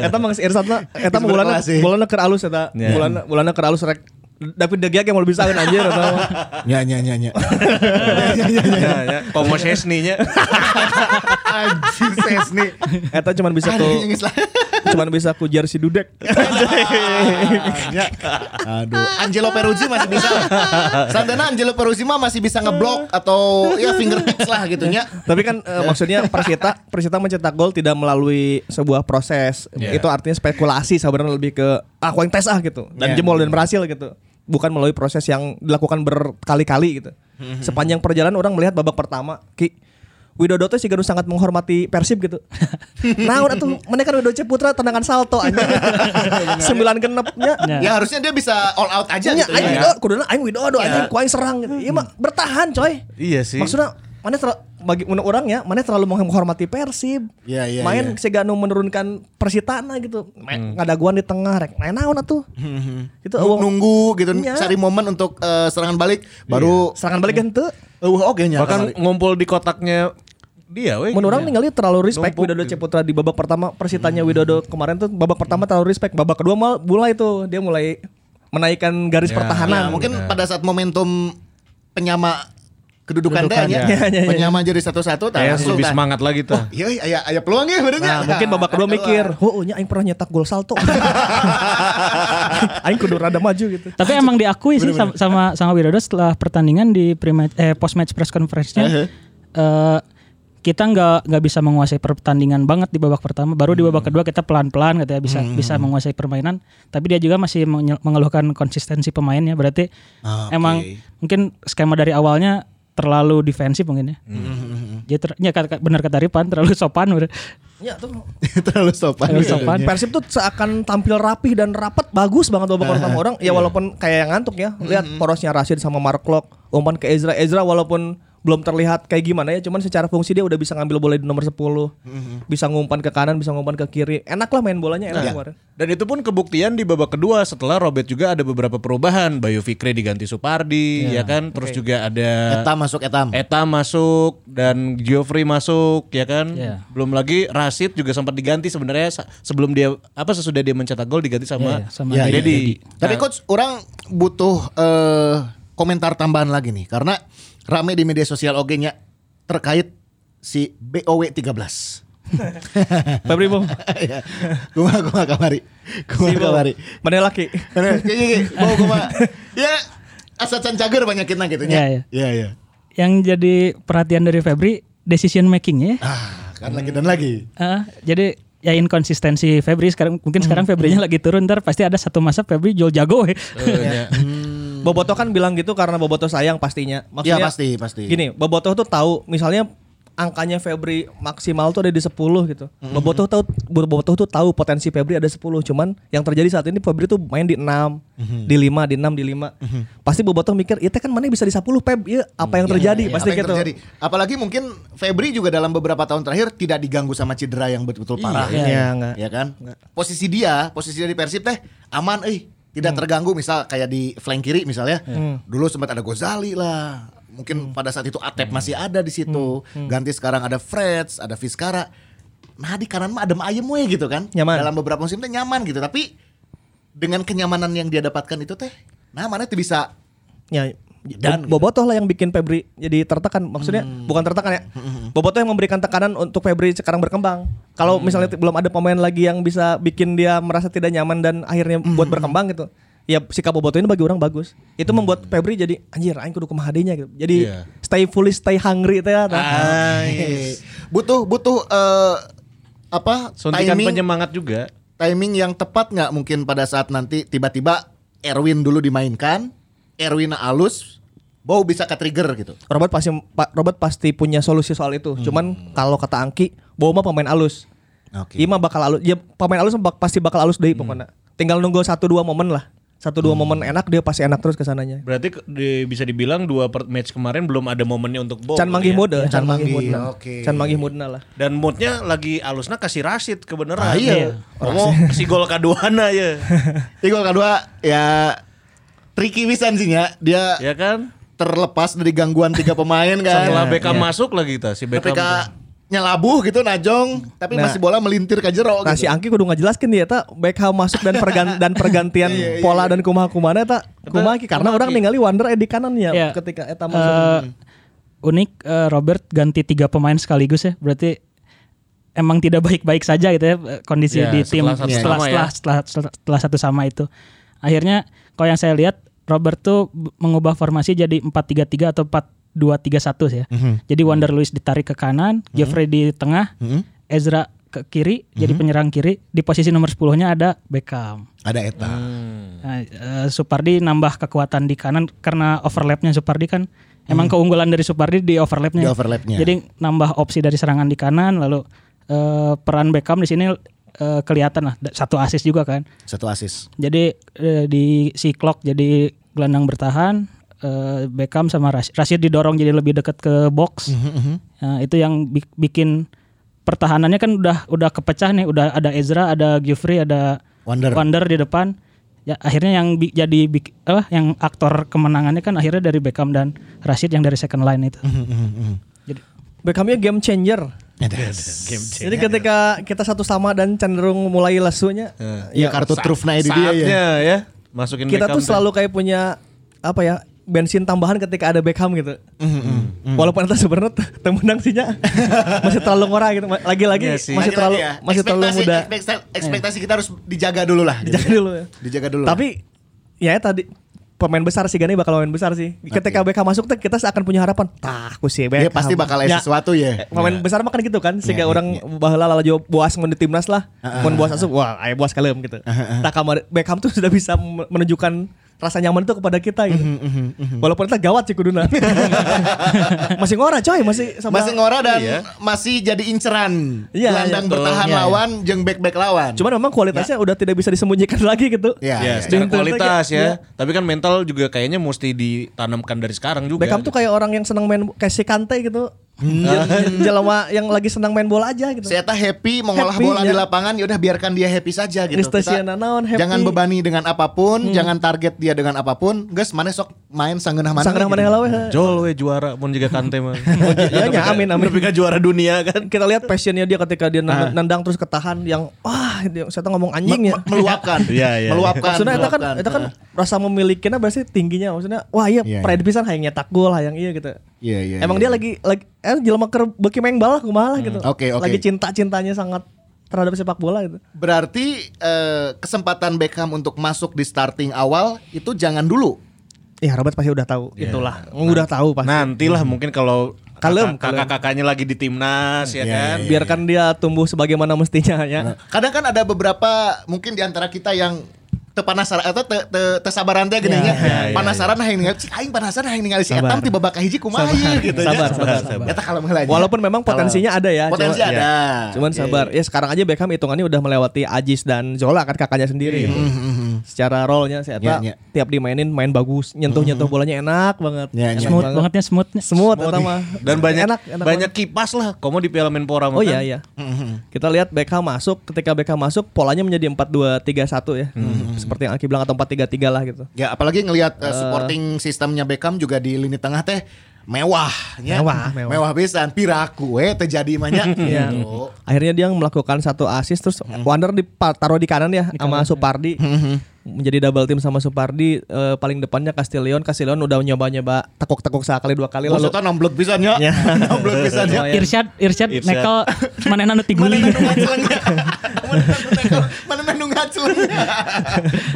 Speaker 4: eta mah geus irsatna eta mah bulanna
Speaker 3: Berkelas sih.
Speaker 4: bulanna keur alus eta
Speaker 2: Ya.
Speaker 4: bulanna bulanna keur alus rek David De Gea ge moal bisa anjir eta mah.
Speaker 3: Ya ya ya ya.
Speaker 2: Ya, ya. Komo Sesninya.
Speaker 3: Anjing Sesni.
Speaker 4: Eta cuman bisa
Speaker 3: Aduh,
Speaker 4: ku
Speaker 3: nyengis lah.
Speaker 4: cuman bisa ku jersey dudek.
Speaker 3: Ya. Aduh, Angelo Peruzzi masih bisa. Santana Angelo Peruzzi mah masih bisa ngeblok atau ya finger picks lah gitu nya.
Speaker 4: Tapi kan eh, maksudnya Persita Persita mencetak gol tidak melalui sebuah proses.
Speaker 2: Iya.
Speaker 4: Itu artinya spekulasi sebenarnya lebih ke ah aku yang tes ah gitu dan jemol dan berhasil gitu. Bukan melalui proses yang dilakukan berkali-kali gitu. Sepanjang perjalanan orang melihat babak pertama Ki Widodo tuh sih gaduh sangat menghormati Persib gitu. nah, udah tuh menekan Widodo Putra tendangan salto aja. Sembilan genepnya.
Speaker 3: Ya harusnya dia bisa all out aja
Speaker 4: Nya,
Speaker 3: gitu ya. Iya.
Speaker 4: aing
Speaker 3: Hmm.
Speaker 4: Widodo, kuduna aing Widodo, anjing ku aing serang gitu. Iya mah bertahan coy.
Speaker 2: Iya sih.
Speaker 4: Maksudnya mana terlalu, bagi menurut orang ya, mana terlalu menghormati Persib.
Speaker 3: Iya, iya, iya. Hmm.
Speaker 4: Main segano menurunkan Persitana gitu. Main ngadaguan di tengah rek. Nah, naon atuh. Itu oh,
Speaker 3: Nu- Nunggu gitu
Speaker 4: Iya.
Speaker 3: cari momen untuk eh, serangan balik baru
Speaker 4: serangan balik henteu.
Speaker 3: eueuh oge nya.
Speaker 2: Bahkan ngumpul di kotaknya dia weh.
Speaker 4: Menurut
Speaker 3: iya.
Speaker 4: orang ningali terlalu respect
Speaker 2: Numpuk
Speaker 3: gitu.
Speaker 4: Widodo Ciputra di babak pertama Persitanya
Speaker 3: Hmm.
Speaker 4: Widodo kemarin tuh babak pertama terlalu respect. Babak kedua mal mulai tuh dia mulai menaikkan garis pertahanan.
Speaker 3: Nah, mungkin pada saat momentum penyama kedudukan
Speaker 2: Kedudukan,
Speaker 3: deh, ya.
Speaker 4: ya. Ya, ya, ya.
Speaker 3: penyama jadi satu-satu, tah,
Speaker 2: Kayak
Speaker 3: langsung,
Speaker 2: lebih
Speaker 3: tah.
Speaker 2: semangat lagi tuh.
Speaker 3: Iya, iya, iya, iya, peluang ya, benernya.
Speaker 4: Nah, mungkin babak kedua mikir, "Heuh, nya aing pernah nyetak gol salto." aing kudu rada maju gitu.
Speaker 5: Tapi emang diakui sih sama, sama sama Widodo setelah pertandingan di pre eh post match press conference-nya eh, kita nggak nggak bisa menguasai pertandingan banget di babak pertama, baru di babak kedua kita pelan-pelan katanya bisa bisa menguasai permainan, tapi dia juga masih menye- mengeluhkan konsistensi pemainnya. Berarti emang mungkin skema dari awalnya terlalu defensif mungkin ya. Dia ter- ya, kata- kata- benar kata Ripan terlalu sopan udah.
Speaker 4: Ya, tuh
Speaker 3: Terlalu sopan.
Speaker 4: gitu
Speaker 5: Terlalu
Speaker 4: ya.
Speaker 5: sopan.
Speaker 3: iya.
Speaker 4: Persib tuh seakan tampil rapih dan rapat bagus banget
Speaker 3: Nah,
Speaker 4: babak pertama
Speaker 3: iya.
Speaker 4: orang. Ya walaupun kayak yang ngantuk ya. Lihat
Speaker 3: Mm-hmm.
Speaker 4: porosnya Rashid sama Mark Klok, umpan ke Ezra. Ezra walaupun belum terlihat kayak gimana ya, cuman secara fungsi dia udah bisa ngambil bola di nomor 10.
Speaker 3: Mm-hmm.
Speaker 4: Bisa ngumpan ke kanan, bisa ngumpan ke kiri. Enak lah main bolanya
Speaker 3: Nah, iya.
Speaker 4: enak kemarin.
Speaker 2: Dan itu pun kebuktian di babak kedua setelah Robert juga ada beberapa perubahan. Bayu Fikri diganti Supardi, ya kan? Terus juga ada
Speaker 3: Etam masuk etam.
Speaker 2: Eta masuk dan Geoffrey masuk, ya kan?
Speaker 5: Iya.
Speaker 2: Belum lagi Rashid juga sempat diganti sebenarnya sa- sebelum dia apa sesudah dia mencetak gol diganti sama,
Speaker 5: Iya, iya, sama
Speaker 2: Dedi.
Speaker 5: Dedi.
Speaker 3: Tapi coach, orang butuh eh, komentar tambahan lagi nih, karena rame di media sosial oge nya terkait si BOW 13.
Speaker 4: Febri Bom.
Speaker 3: Ya. Kumaha kumaha kamari. Kumaha kamari.
Speaker 4: Mana laki?
Speaker 3: Kayaknya kayak, bau kumaha. Ya, asa can cager banyak kita gitu
Speaker 5: Iya,
Speaker 3: nya.
Speaker 5: iya.
Speaker 3: Iya, iya.
Speaker 5: Yang jadi perhatian dari Febri decision making-nya ya.
Speaker 3: Ah, kan lagi dan lagi.
Speaker 5: Ah, jadi ya inkonsistensi Febri sekarang mungkin sekarang Febrinya lagi turun ntar pasti ada satu masa Febri jual jago eh.
Speaker 4: Boboto kan bilang gitu karena Boboto sayang pastinya. Maksudnya
Speaker 3: Hmm. Iya, pasti, pasti.
Speaker 4: Gini, Boboto tuh tahu misalnya angkanya Febri maksimal tuh ada di 10 gitu.
Speaker 3: Mm-hmm.
Speaker 4: Boboto tahu Boboto tuh tahu potensi Febri ada 10, cuman yang terjadi saat ini Febri tuh main di 6,
Speaker 3: Mm-hmm.
Speaker 4: di 5, di 6, di 5. Pasti Boboto mikir, "Itu kan mana bisa di 10 Feb? Iya, apa yang terjadi?"
Speaker 3: Mm-hmm. Apa
Speaker 4: Pasti
Speaker 3: yang
Speaker 4: gitu.
Speaker 3: terjadi. Apalagi mungkin Febri juga dalam beberapa tahun terakhir tidak diganggu sama cedera yang betul-betul parah.
Speaker 4: Iya, iya, enggak.
Speaker 3: Ya kan? Posisi dia, posisi dari Persib teh aman euy, tidak
Speaker 4: Hmm.
Speaker 3: terganggu misal kayak di flank kiri misalnya. Dulu sempat ada Gozali lah.
Speaker 4: Hmm.
Speaker 3: Mungkin pada saat itu Atep masih ada di situ. Ganti sekarang ada Freds, ada Fiskara. Nah, di kanan mah adem ayem we gitu kan.
Speaker 4: Nyaman.
Speaker 3: Dalam beberapa musim teh nyaman gitu, tapi dengan kenyamanan yang dia dapatkan itu teh, nah mana tuh bisa
Speaker 4: Ya, Bo- Bobotoh lah yang bikin Febri jadi tertekan. Maksudnya bukan tertekan ya. Bobotoh yang memberikan tekanan untuk Febri sekarang berkembang. Kalau misalnya t- belum ada pemain lagi yang bisa bikin dia merasa tidak nyaman dan akhirnya buat berkembang gitu. Ya sikap Bobotoh ini bagi orang bagus. Itu membuat Febri jadi anjir aing kudu kumaha deunya," gitu. Jadi
Speaker 2: Iya.
Speaker 4: stay foolish, stay hungry teh.
Speaker 3: Ah. Nice. Butuh butuh eh, apa
Speaker 2: Suntikan
Speaker 3: timing
Speaker 2: penyemangat juga.
Speaker 3: timing yang tepat nggak mungkin pada saat nanti tiba-tiba Erwin dulu dimainkan, Erwin alus, bau bisa ke trigger gitu.
Speaker 4: Robert pasti pa- Robert pasti punya solusi soal itu. Cuman kalau kata Angki, Boma pemain alus.
Speaker 3: Oke. Hmm.
Speaker 4: Ima bakal alus. Ya, pemain alus bak- pasti bakal alus deh pokoknya. Tinggal nunggu satu dua momen lah. Satu dua momen enak dia pasti enak terus kesananya.
Speaker 2: Berarti ke- di- bisa dibilang dua per- match kemarin belum ada momennya untuk
Speaker 3: Oh,
Speaker 2: Bow.
Speaker 4: Can manggih mode, Can
Speaker 3: iya. Manggih,
Speaker 4: manggih mode.
Speaker 3: oke.
Speaker 4: Can manggih mode lah.
Speaker 2: Dan moodnya lagi alusnya kasih Rashid kebenaran.
Speaker 3: Ah, iya.
Speaker 2: Ngomong si gol kaduana ya.
Speaker 3: Jadi gol kedua ya tricky wisan sih ya. Dia
Speaker 2: ya kan?
Speaker 3: terlepas dari gangguan tiga pemain kan.
Speaker 2: Setelah Beckham masuk lagi kita si Beckham. Nah,
Speaker 3: Ketika nyelabuh gitu najong tapi
Speaker 4: Nah.
Speaker 3: masih bola melintir ke jero
Speaker 4: Nah
Speaker 3: gitu.
Speaker 4: si Angki kudu ngajelaskan dia tak Beckham masuk dan pergan- dan pergantian
Speaker 3: Iya,
Speaker 4: pola dan kumaha kumana tak kumaha Ki. karena orang ningali Wander eh, di kanannya
Speaker 5: Iya.
Speaker 4: ketika eta
Speaker 5: Eh,
Speaker 4: masuk. Hmm.
Speaker 5: unik eh, Robert ganti tiga pemain sekaligus ya. Berarti emang tidak baik-baik saja gitu ya eh, kondisi
Speaker 2: Ya,
Speaker 5: di tim
Speaker 2: setelah
Speaker 5: setelah
Speaker 2: satu
Speaker 5: setelah,
Speaker 2: sama ya.
Speaker 5: setelah, setelah- setelah satu sama itu. Akhirnya kalau yang saya lihat Robert tuh b- mengubah formasi jadi 4-3-3 atau 4-2-3-1 sih ya.
Speaker 4: Mhm.
Speaker 5: Jadi Wander Lewis ditarik ke kanan, Jeffrey di tengah, Ezra ke kiri jadi
Speaker 4: Mhm.
Speaker 5: penyerang kiri. Di posisi nomor 10-nya ada Beckham.
Speaker 3: Ada eta. Hmm.
Speaker 5: Nah, eh, Supardi nambah kekuatan di kanan karena overlapnya Supardi kan emang keunggulan dari Supardi di overlapnya.
Speaker 3: Hmm. Di overlapnya.
Speaker 5: Jadi nambah opsi dari serangan di kanan lalu eh, peran Beckham di sini eh, kelihatan lah Da- satu assist juga kan.
Speaker 3: Satu asis.
Speaker 5: Jadi eh, di si clock jadi gelandang bertahan eh, Beckham sama Rashid. Rashid didorong jadi lebih dekat ke box. Nah, itu yang bi- bikin pertahanannya kan udah udah kepecah nih, udah ada Ezra, ada Giuffre, ada
Speaker 3: Wander.
Speaker 5: Wander di depan. Ya akhirnya yang bi- jadi bik- apa yang aktor kemenangannya kan akhirnya dari Beckham dan Rashid yang dari second line itu. Jadi
Speaker 4: Beckhamnya game changer.
Speaker 2: game
Speaker 4: Jadi ketika kita satu sama dan cenderung mulai lesunya,
Speaker 3: Iya kartu truf naik di dia ya.
Speaker 2: kan, Saatnya ya. Masukin
Speaker 4: kita
Speaker 2: Beckham Iya,
Speaker 4: tuh selalu kayak punya apa ya bensin tambahan ketika ada Beckham gitu.
Speaker 2: Mm-hmm,
Speaker 4: Walaupun itu sebenarnya t- temenang sihnya masih terlalu ngora gitu. Ma- Lagi-lagi
Speaker 2: Iya sih.
Speaker 3: Lagi-lagi
Speaker 4: masih terlalu
Speaker 3: ya,
Speaker 4: masih terlalu
Speaker 3: ekspektasi-
Speaker 4: muda. Iya.
Speaker 3: ekspektasi, ekspektasi kita harus dijaga dulu lah gitu.
Speaker 4: Dijaga dulu ya.
Speaker 3: dijaga dulu
Speaker 4: Tapi ya tadi pemain besar sih Gani bakal main besar sih. Ketika Beckham masuk tuh kita akan punya harapan. Tah, aku
Speaker 3: lah.
Speaker 4: sih
Speaker 3: dia
Speaker 4: Beckham.
Speaker 3: Iya, pasti bakal ada
Speaker 4: Ya,
Speaker 3: sesuatu Iya, ya
Speaker 4: Pemain besar makan gitu kan, sehingga orang bahala lala jawab buas mun di timnas lah, mun buas asup, wah ayo buas kalem gitu. Nah kamar Beckham tuh sudah bisa men- menunjukkan rasa nyaman itu kepada kita gitu.
Speaker 3: Mhm,
Speaker 4: Walaupun kita gawat sih kuduna. masih ngora coy, masih sama
Speaker 3: masih ngora dan
Speaker 2: Iya.
Speaker 3: masih jadi inceran
Speaker 4: Iya,
Speaker 3: gelandang
Speaker 4: iya, betul.
Speaker 3: bertahan
Speaker 4: Iya, iya.
Speaker 3: lawan jeng back back lawan
Speaker 4: Cuman memang kualitasnya udah tidak bisa disembunyikan lagi gitu.
Speaker 3: Iya.
Speaker 2: Ya,
Speaker 3: Ya,
Speaker 2: secara
Speaker 4: ya.
Speaker 2: kualitas ya.
Speaker 4: Iya.
Speaker 2: Tapi kan mental juga kayaknya mesti ditanamkan dari sekarang juga.
Speaker 4: Beckham tuh kayak orang yang senang main kayak si Kante gitu.
Speaker 3: Iya.
Speaker 4: Jel- Jelema yang lagi senang main bola aja gitu.
Speaker 3: saya Ya. happy mengolah
Speaker 4: Happy,
Speaker 3: bola di
Speaker 4: ya.
Speaker 3: lapangan ya udah biarkan dia happy saja gitu
Speaker 4: Anastasiana naon, happy. Hmm.
Speaker 3: jangan bebani dengan apapun jangan target dia dengan apapun guys mana sok main sanggeunah mana
Speaker 4: Sangat mana lawe. he.
Speaker 2: Jol we juara pun juga kante mah.
Speaker 4: Ya, ya, amin, amin.
Speaker 2: Tapi kan juara dunia kan.
Speaker 4: kita lihat passionnya dia ketika dia nendang, nendang terus ketahan yang wah dia, saya tuh ngomong anjing ya
Speaker 3: meluapkan
Speaker 2: Iya, iya.
Speaker 3: meluapkan
Speaker 4: maksudnya itu kan
Speaker 3: meluapkan.
Speaker 4: itu kan rasa memilikinya berarti tingginya maksudnya wah iya
Speaker 3: Iya,
Speaker 4: pride pisan hayang nyetak gol hayang iya gitu
Speaker 3: Iya, iya,
Speaker 4: emang
Speaker 3: iya, iya.
Speaker 4: dia
Speaker 3: Hmm.
Speaker 4: lagi lagi eh jelema keur beuki main bola kumaha lah gitu
Speaker 3: Oke, oke.
Speaker 4: lagi cinta-cintanya sangat terhadap sepak bola gitu
Speaker 3: berarti eh, kesempatan Beckham untuk masuk di starting awal itu jangan dulu
Speaker 4: ya Robert pasti udah tahu
Speaker 3: Iya.
Speaker 4: itulah udah tahu pasti
Speaker 2: Nantilah mungkin kalau
Speaker 4: Kalem, Iya,
Speaker 2: kakak- kakak-kakaknya lagi di timnas ya kan.
Speaker 4: biarkan dia tumbuh sebagaimana mestinya ya
Speaker 3: Kadang kan ada beberapa mungkin di antara kita yang tepanasaran atau te, te, tesabaran teh
Speaker 4: Ya,
Speaker 3: gini nya. Panasaran hayang ningali cik aing panasaran nah, hayang ningali si Etam
Speaker 4: Sabar.
Speaker 3: tiba baka hiji kumaha ieu gitu
Speaker 4: Sabar, sabar,
Speaker 3: sabar. Eta kalau heula aja.
Speaker 4: Walaupun memang
Speaker 3: Kalau-
Speaker 4: potensinya ada ya.
Speaker 3: Potensi
Speaker 4: cuma-
Speaker 3: ada.
Speaker 4: ya. Cuman
Speaker 3: Oke.
Speaker 4: sabar. Ya sekarang aja Beckham hitungannya udah melewati Ajis dan Zola kan kakaknya sendiri. gitu.
Speaker 3: Mm-hmm.
Speaker 4: Secara role-nya saya
Speaker 3: Iya, iya.
Speaker 4: tiap dimainin main bagus, nyentuh-nyentuh bolanya enak banget.
Speaker 3: Iya, iya.
Speaker 4: Enak
Speaker 5: smooth
Speaker 4: banget.
Speaker 5: bangetnya smoothnya.
Speaker 4: Smooth, eta mah.
Speaker 2: Dan banyak
Speaker 4: Enak, enak
Speaker 2: banyak kipas lah. Komo di Piala Menpora kan?
Speaker 4: banget. Oh
Speaker 3: kan?
Speaker 4: iya iya.
Speaker 3: Hmm.
Speaker 4: Kita lihat Beckham masuk, ketika Beckham masuk polanya menjadi 4-2-3-1 ya.
Speaker 3: Hmm.
Speaker 4: Seperti yang Aki bilang atau 4-3-3 lah gitu.
Speaker 3: Ya apalagi ngelihat eh, supporting sistemnya Beckham juga di lini tengah teh mewahnya
Speaker 4: Mewah,
Speaker 3: mewah,
Speaker 4: mewah. Iya.
Speaker 3: pisan piraku we terjadi banyak gitu.
Speaker 4: Akhirnya dia melakukan satu assist terus Wander ditaruh di kanan ya sama Supardi. Menjadi double team sama Supardi eh, paling depannya Castillion. Castillion udah nyoba-nyoba tekuk-tekuk sekali dua kali lalu.
Speaker 3: Maksudnya nomblok pisan ya.
Speaker 4: Ya.
Speaker 3: Nomblok pisan ya.
Speaker 4: Lumayan.
Speaker 5: Irsyad, Irsyad,
Speaker 2: Irsyad.
Speaker 5: nekel mana nanu
Speaker 3: Mana
Speaker 5: tiguli.
Speaker 3: nandung ngacelengnya? Mana nandung nekel? Mana nandung ngacelengnya?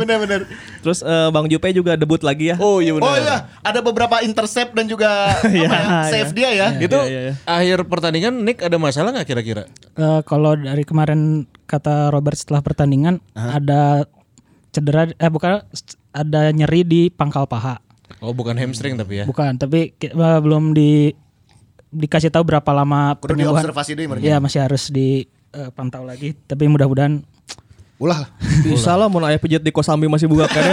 Speaker 3: Bener-bener.
Speaker 4: Terus eh, Bang Jupe juga debut lagi ya.
Speaker 2: Oh iya benar.
Speaker 3: Oh iya, ada beberapa intercept dan juga apa ya, save dia ya.
Speaker 2: Itu
Speaker 4: Iya,
Speaker 2: akhir pertandingan Nick ada masalah nggak kira-kira?
Speaker 5: Eh, kalau dari kemarin kata Robert setelah pertandingan ada cedera eh bukan ada nyeri di pangkal paha.
Speaker 2: Oh bukan hamstring tapi ya.
Speaker 5: Bukan, tapi ki- eh, belum di dikasih tahu berapa lama
Speaker 3: Kudu
Speaker 5: penyembuhan.
Speaker 3: diobservasi ya? dulu mereka.
Speaker 5: Iya, masih harus dipantau lagi, tapi mudah-mudahan
Speaker 3: Ulah.
Speaker 4: Bisa lah mau ayah pijat di Kosambi masih buka kan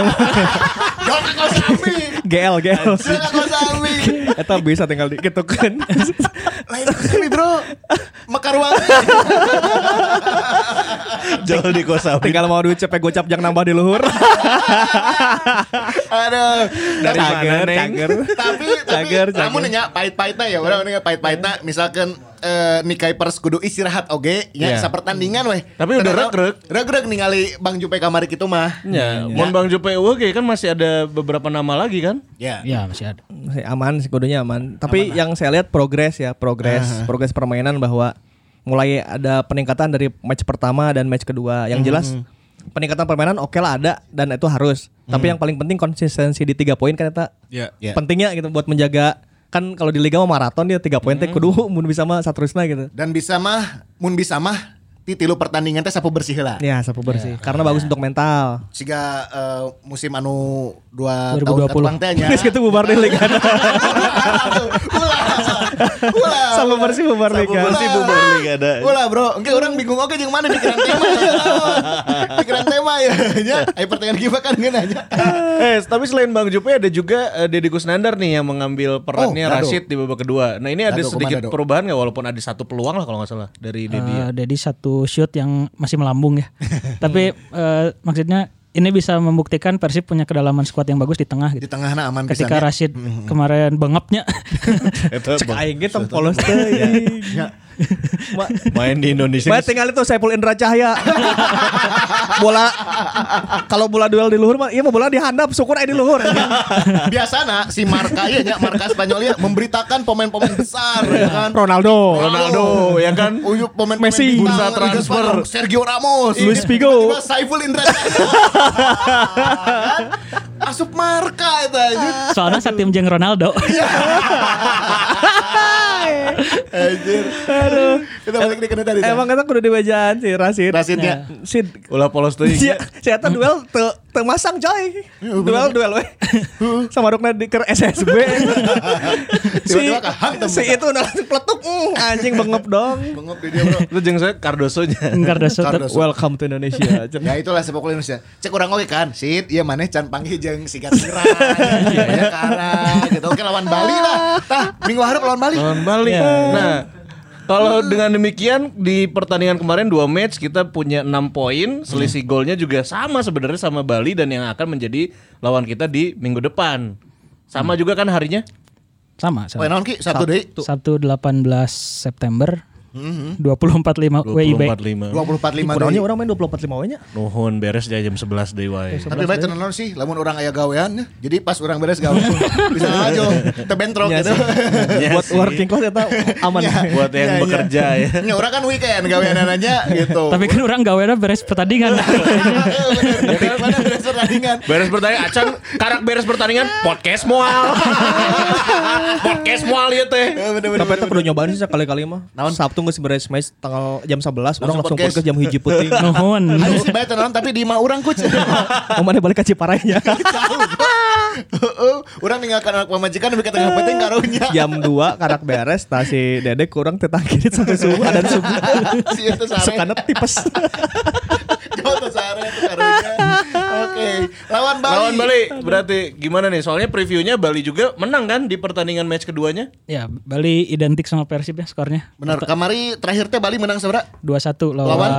Speaker 3: Jangan kau sami.
Speaker 4: GL GL.
Speaker 3: Jangan kau sami.
Speaker 4: Eta bisa tinggal diketukan.
Speaker 3: Lain kali bro. Mekar wangi.
Speaker 2: Jol di kosambi.
Speaker 4: tinggal mau duit cepet gocap jangan nambah di luhur.
Speaker 3: Aduh.
Speaker 4: Dari
Speaker 2: mana, Neng?
Speaker 3: tapi
Speaker 4: Cager,
Speaker 3: tapi kamu
Speaker 4: cager.
Speaker 3: nanya pahit-pahitnya ya orang nanya pahit-pahitnya misalkan eh, Nikai Pers kudu istirahat oge ya
Speaker 2: Iya.
Speaker 3: sa pertandingan weh
Speaker 2: Tapi udah
Speaker 3: Ternyata-
Speaker 2: reg-reg.
Speaker 3: reg-reg ningali Bang Jupe kamari kitu mah
Speaker 4: Iya,
Speaker 2: Ya, Mon Bang Jupe oke kan masih ada beberapa nama lagi kan?
Speaker 3: ya
Speaker 5: ya masih ada.
Speaker 4: Masih aman sih kudunya aman. ah. Tapi yang saya lihat progres ya, progres, progres permainan bahwa mulai ada peningkatan dari match pertama dan match kedua. Yang jelas peningkatan permainan oke lah ada dan itu harus. Tapi yang paling penting konsistensi di tiga poin kan eta
Speaker 2: Ya.
Speaker 3: Ya.
Speaker 4: pentingnya gitu buat menjaga kan kalau di liga mau maraton dia tiga poin teh kudu mun bisa mah saterusna gitu.
Speaker 3: dan bisa mah mun bisa mah ti tilu pertandingan teh sapu bersih lah
Speaker 4: Ya, sapu bersih. Ya. Karena bagus untuk mental.
Speaker 3: Siga eh, musim anu dua tahun
Speaker 5: 2020.
Speaker 3: katulangnya teh nya.
Speaker 4: Terus gitu bubar di liga.
Speaker 3: Ulah. Ulah.
Speaker 4: Sapu bersih bubar liga.
Speaker 3: bersih bubar liga ada. Ulah bro, engke orang bingung oke jeung mana pikiran tema. Pikiran tema ya. nya. Aya pertanyaan gimana kan ngeun aja.
Speaker 2: eh, tapi selain Bang Jupe ada juga eh, Deddy Kusnandar nih yang mengambil perannya
Speaker 3: Oh, Dado.
Speaker 2: Rashid di babak kedua. Nah ini ada
Speaker 3: Dado,
Speaker 2: sedikit
Speaker 3: Komando.
Speaker 2: perubahan nggak walaupun ada satu peluang lah kalau nggak salah dari Deddy. ya.
Speaker 5: Eh, Dedi satu shoot yang masih melambung ya. Tapi eh, maksudnya ini bisa membuktikan Persib punya kedalaman skuad yang bagus di tengah
Speaker 3: Di Hmm.
Speaker 5: gitu.
Speaker 3: tengahna aman pisan.
Speaker 5: Ketika
Speaker 3: nya.
Speaker 5: Rashid kemarin bengapnya
Speaker 4: Cek aing ge tempolos teh. Ya.
Speaker 3: Nya.
Speaker 4: Ma-
Speaker 2: Main di Indonesia.
Speaker 4: Baik tinggal itu Saiful Indra Cahaya. bola kalau bola duel di luhur mah iya mah bola dihandap syukur aja di luhur.
Speaker 3: Biasana si Marka ya nya, Marka Spanyol ya memberitakan pemain-pemain besar ya kan.
Speaker 4: Oh, Ronaldo.
Speaker 2: Ronaldo ya kan?
Speaker 3: Uyup pemain
Speaker 4: Messi.
Speaker 2: Bursa transfer.
Speaker 3: Sergio Ramos,
Speaker 4: Luis
Speaker 3: Ini
Speaker 4: Figo.
Speaker 3: tiba-tiba Saiful Indra. Kan? Asup marka itu aja.
Speaker 5: soalnya saat tim jeng Ronaldo.
Speaker 3: Anjir. Aduh. Kita balik di kena tadi.
Speaker 4: Emang kata kudu dibejaan si Rasid. Ya.
Speaker 3: Rasidnya.
Speaker 4: Sid. Iya,
Speaker 2: Ulah polos tuh. iya.
Speaker 4: Si eta duel te, te masang coy.
Speaker 3: Iya,
Speaker 4: Duel duel we. Sama rukna di ke SSB. si
Speaker 3: Tiba-tiba kahang tembak.
Speaker 4: si itu udah langsung peletuk mm, anjing bengep dong.
Speaker 3: Bengep di dia bro.
Speaker 2: Itu jeng saya Cardoso-nya.
Speaker 5: Cardoso tetap-
Speaker 3: Cardoso.
Speaker 4: Welcome to Indonesia.
Speaker 3: Ya itulah sepak bola Indonesia. Cek orang oke kan. Sit, iya maneh can panggil jeung siga Gerang. Ya karang gitu. Oke lawan Bali lah. Tah, minggu harap lawan Bali.
Speaker 2: Lawan Bali. Nah, kalau dengan demikian di pertandingan kemarin dua match kita punya enam poin, selisih golnya juga sama sebenarnya sama Bali dan yang akan menjadi lawan kita di minggu depan. Sama juga kan harinya?
Speaker 5: sama,
Speaker 3: Poin
Speaker 5: sama.
Speaker 3: naon ki? Satu deui.
Speaker 5: Sabtu 18 September Mm-hmm. 24.5 WIB.
Speaker 2: 24.5.
Speaker 3: 24.5
Speaker 4: Kurangnya
Speaker 3: deui.
Speaker 4: orang main 24 5 nya.
Speaker 2: Nuhun beres aja jam 11 deui wae.
Speaker 3: Tapi baik tenan naon sih, lamun orang aya gawean, eh, jadi pas orang beres gawean bisa aja tebentrok
Speaker 4: Iya
Speaker 3: gitu.
Speaker 4: sih. Buat working class eta aman.
Speaker 2: Buat yang
Speaker 3: Iya, iya.
Speaker 2: bekerja ya.
Speaker 3: Ya orang kan weekend gaweanannya gitu. Eh,
Speaker 5: Tapi kan orang gawean beres pertandingan.
Speaker 3: Bener, bener, mana beres pertandingan.
Speaker 2: Beres pertandingan, acan karak beres pertandingan podcast moal. podcast moal ya teh.
Speaker 3: Eh, bener, bener,
Speaker 4: Tapi itu perlu nyobain sih sekali-kali mah. Sabtu nggak beres match tanggal jam 11 orang langsung
Speaker 3: podcast.
Speaker 4: podcast jam hiji putih.
Speaker 5: Nuhun.
Speaker 3: Ayo sih bayar tenang tapi di mah orang kuc.
Speaker 4: Mau mana balik ke Ciparainya.
Speaker 3: Heeh, Orang ninggalkan anak pemajikan tapi kata nggak penting karunya.
Speaker 4: jam 2 karak beres tah si Dede kurang tetang kiri sampai subuh ada subuh.
Speaker 3: Si Iya, itu sare.
Speaker 4: Sekana tipes.
Speaker 3: Jauh tuh sare itu karunya. Oke, lawan Bali.
Speaker 2: Lawan Bali berarti gimana nih? Soalnya previewnya Bali juga menang kan di pertandingan match keduanya?
Speaker 5: Ya, Bali identik sama Persib ya skornya.
Speaker 3: Benar, kamari terakhir teh Bali menang sabra.
Speaker 5: 2-1 lawan Oh.
Speaker 3: Lawan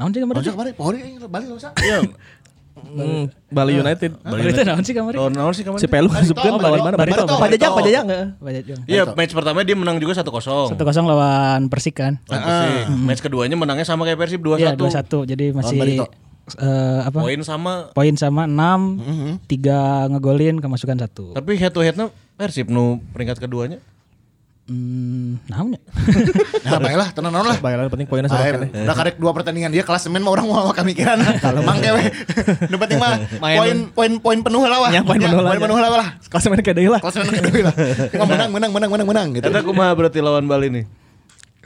Speaker 5: Naon sih kemarin?
Speaker 2: Iya.
Speaker 3: Lawan kamari pohon ini Bali lawan sa.
Speaker 4: Hmm, Bali United.
Speaker 2: Bali
Speaker 5: Berita
Speaker 2: United.
Speaker 5: naon sih kamari?
Speaker 2: Tahun naon sih kemarin?
Speaker 4: Si Pelu
Speaker 3: Barito,
Speaker 4: sebelum lawan mana?
Speaker 5: Barito,
Speaker 4: Barito.
Speaker 5: Barito.
Speaker 4: Pajajang, Pajajang.
Speaker 5: Banyak juga.
Speaker 2: Iya, match pertama dia menang juga 1-0. 1-0.
Speaker 5: Satu kosong lawan Persik kan.
Speaker 2: Persib. Match keduanya menangnya sama kayak Persib 2-1.
Speaker 5: Iya dua satu. Jadi masih
Speaker 3: Barito.
Speaker 5: eh, apa?
Speaker 2: Poin sama
Speaker 5: Poin Mm-hmm. sama 6 tiga ngegolin kemasukan satu.
Speaker 2: tapi head to headnya Persib nu peringkat keduanya.
Speaker 5: Hmm, naonnya?
Speaker 3: Nah, baiklah, tenang naon lah.
Speaker 4: Bayaran penting poinnya
Speaker 3: Akhir,
Speaker 4: sore.
Speaker 3: udah karek dua pertandingan dia kelas semen mah orang mau makan mikiran. Mang kewe. Nu penting mah poin poin poin penuh lah wah.
Speaker 4: Ya, poin
Speaker 3: Ya,
Speaker 4: penuh lah.
Speaker 3: Poin penuh lah wah lah.
Speaker 4: Kelas main kayak lah.
Speaker 3: Kelas semen kedua lah. Cuma menang menang menang menang menang gitu.
Speaker 2: Eta kumaha berarti lawan Bali nih?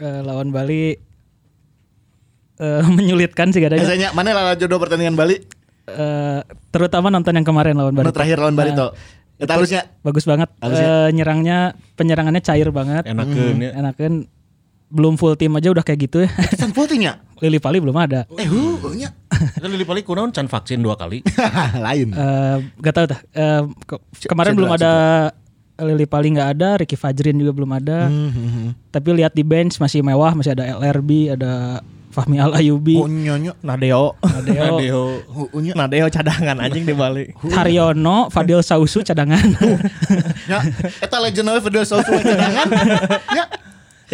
Speaker 5: Eh, lawan Bali eh, menyulitkan sih kadang.
Speaker 3: Biasanya mana lah jodoh pertandingan Bali?
Speaker 5: Eh, terutama nonton yang kemarin lawan
Speaker 3: Nu
Speaker 5: Bali.
Speaker 3: terakhir lawan
Speaker 4: Nah.
Speaker 3: Bali to. Eta halusnya
Speaker 5: Bagus banget. Eh, nyerangnya penyerangannya cair banget.
Speaker 2: Enakeun ya.
Speaker 5: Enakan belum full tim aja udah kayak gitu ya.
Speaker 3: San putihnya.
Speaker 5: Lili Pali belum ada.
Speaker 3: Eh, hu, nya.
Speaker 2: Eta Lili Pali kunaon can vaksin dua kali.
Speaker 3: Lain.
Speaker 5: Eh, gak tau dah. Eh, ke- kemarin belum ada Lili Pali nggak ada, Ricky Fajrin juga belum ada.
Speaker 3: Hmm,
Speaker 5: Tapi lihat di bench masih mewah, masih ada LRB, ada Fahmi
Speaker 3: Oh,
Speaker 5: Al Ayubi,
Speaker 3: Unyonyo.
Speaker 4: Nadeo.
Speaker 5: Nadeo,
Speaker 2: Adeo.
Speaker 3: Hu, unya.
Speaker 4: Nadeo cadangan anjing di Bali.
Speaker 5: Haryono, Fadil Sausu cadangan.
Speaker 3: Ya, eta legend we Fidel Sousa cadangan. Ya.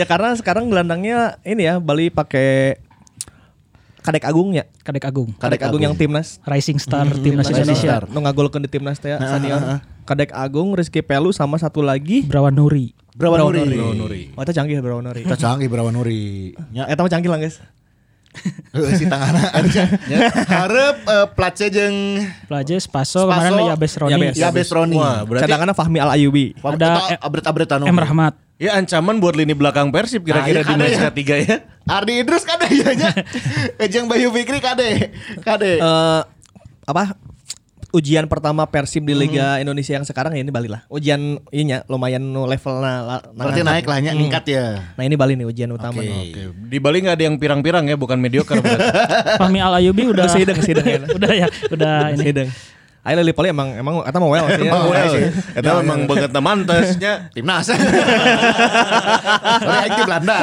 Speaker 4: Ya karena sekarang gelandangnya ini ya Bali pakai Kadek Agung ya.
Speaker 5: Kadek Agung,
Speaker 4: Kadek, Agung, yang timnas.
Speaker 5: Hmm, Rising Star
Speaker 4: Timnas
Speaker 5: timnas Indonesia,
Speaker 4: Indonesia. Nu ngagolkeun di timnas teh ya, senior. Kadek Agung, Rizky Pelu sama satu lagi
Speaker 5: Brawan Nuri.
Speaker 3: Brawan Nuri.
Speaker 4: Oh, itu canggih Bro Nori.
Speaker 3: Kita canggih Brawan Nuri.
Speaker 4: Ya, eta mah canggih lah, guys.
Speaker 3: Heeh, si tangana aja. Harap eh, place jeung
Speaker 5: Pelaje Spaso, kemarin
Speaker 3: Spaso,
Speaker 5: ada Yabes Roni,
Speaker 4: Yabes.
Speaker 3: ya Besroni.
Speaker 2: Wah, berarti
Speaker 4: Cadangannya Fahmi Al Ayubi.
Speaker 5: Ada
Speaker 3: Ada abret-abret anu.
Speaker 5: M Rahmat.
Speaker 2: ya ancaman buat lini belakang Persib kira-kira
Speaker 3: Ah, iya,
Speaker 2: di
Speaker 3: ada
Speaker 2: match
Speaker 3: ya.
Speaker 2: ketiga ya.
Speaker 3: Ardi Idrus kade ya nya. Ejeng Bayu Fikri kade. Kade.
Speaker 4: Eh apa ujian pertama Persib di Liga Indonesia yang sekarang ya ini Bali lah. Ujian ininya lumayan nu levelna na,
Speaker 3: Berarti naik lah nya ningkat ya.
Speaker 4: Nah, ini Bali nih ujian utama nih.
Speaker 2: Oke, di Bali nggak ada yang pirang-pirang ya, bukan mediocre. berarti.
Speaker 5: Fahmi Al Ayubi udah
Speaker 4: Kesideng, kesideng ya.
Speaker 5: udah ya, udah ini.
Speaker 4: Sideng. Iya Ayo Lili Poli emang emang eta mah well sih. ya.
Speaker 3: Emang well sih.
Speaker 2: Eta memang banget mantasnya.
Speaker 3: Timnas. Lah di Belanda.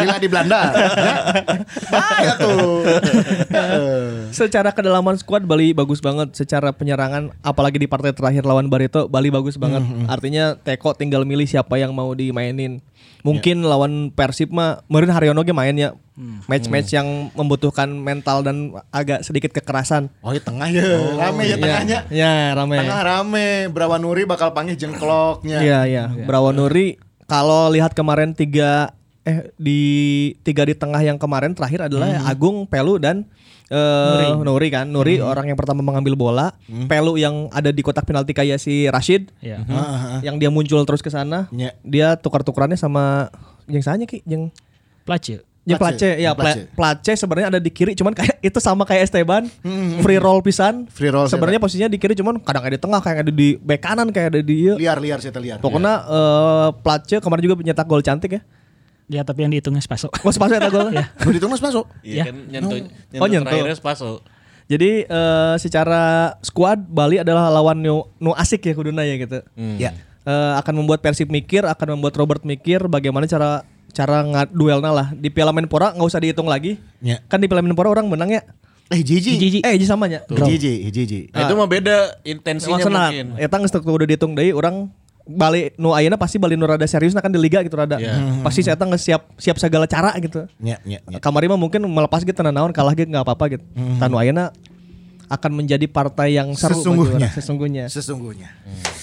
Speaker 3: Lila di Belanda. Ah ya tuh. Eh.
Speaker 4: Secara kedalaman skuad Bali bagus banget, secara penyerangan apalagi di partai terakhir lawan Barito Bali bagus banget. Artinya Teko tinggal milih siapa yang mau dimainin. Mungkin lawan Persib mah meureun Haryono ge mainnya. ya. Match-match yang membutuhkan mental dan agak sedikit kekerasan.
Speaker 3: Oh, ya tengah ya. Rame ya tengahnya.
Speaker 4: Ya, rame.
Speaker 3: Tengah rame, Brawan Nuri bakal panggil jengkloknya.
Speaker 4: Iya iya. Brawanuri kalau lihat kemarin tiga eh di tiga di tengah yang kemarin terakhir adalah Agung, Pelu dan eh, Hmm. Nuri. kan. Nuri orang yang pertama mengambil bola,
Speaker 3: Hmm.
Speaker 4: Pelu yang ada di kotak penalti kayak si Rashid
Speaker 5: Ya.
Speaker 3: Ah,
Speaker 4: yang dia muncul terus ke sana.
Speaker 3: Iya.
Speaker 4: Dia tukar-tukarannya sama yang sahanya Ki, yang
Speaker 5: Pelaje.
Speaker 4: yang
Speaker 3: Place.
Speaker 4: Place, ya
Speaker 3: Place.
Speaker 4: Pla- Place sebenarnya ada di kiri cuman kayak itu sama kayak Esteban, free roll pisan.
Speaker 3: Hmm. Free roll,
Speaker 4: sebenarnya posisinya di kiri cuman kadang ada di tengah, kayak ada di bek kanan, kayak ada di iya. ieu.
Speaker 3: Liar-liar saya liar.
Speaker 4: Pokoknya eh Place kemarin juga nyetak gol cantik ya.
Speaker 5: Ya tapi yang dihitungnya Spaso.
Speaker 4: Oh sepasang nyetak gol.
Speaker 3: Udah dihitung Mas masuk.
Speaker 5: Ya.
Speaker 2: Iya kan nyentuh, nyentuh
Speaker 4: Oh, nyentuh.
Speaker 2: terakhirnya Spaso.
Speaker 4: Jadi eh secara squad Bali adalah lawan nu, nu asik ya kuduna ya gitu.
Speaker 3: Ya.
Speaker 4: Eh, akan membuat Persib mikir, akan membuat Robert mikir bagaimana cara cara ngad- duelna lah di Piala Menpora nggak usah dihitung lagi.
Speaker 3: Ya.
Speaker 4: Kan di Piala Menpora orang menang ya.
Speaker 3: Eh Jiji.
Speaker 4: Eh jadi samanya.
Speaker 3: Jiji, Jiji.
Speaker 2: Nah, itu mah beda intensinya
Speaker 4: Langsana.
Speaker 2: mungkin.
Speaker 4: Eta geus teu kudu dihitung deui orang Bali nu ayeuna pasti Bali nu rada serius kan di liga gitu rada. Pasti si eta geus siap siap segala cara gitu.
Speaker 3: Ya, ya, ya.
Speaker 4: Kamari mah mungkin melepas gitu tenan naon kalah gitu nggak apa-apa gitu. Tanu ayeuna akan menjadi partai yang seru bagi
Speaker 3: Sesungguhnya.
Speaker 4: orang, sesungguhnya.
Speaker 3: Sesungguhnya.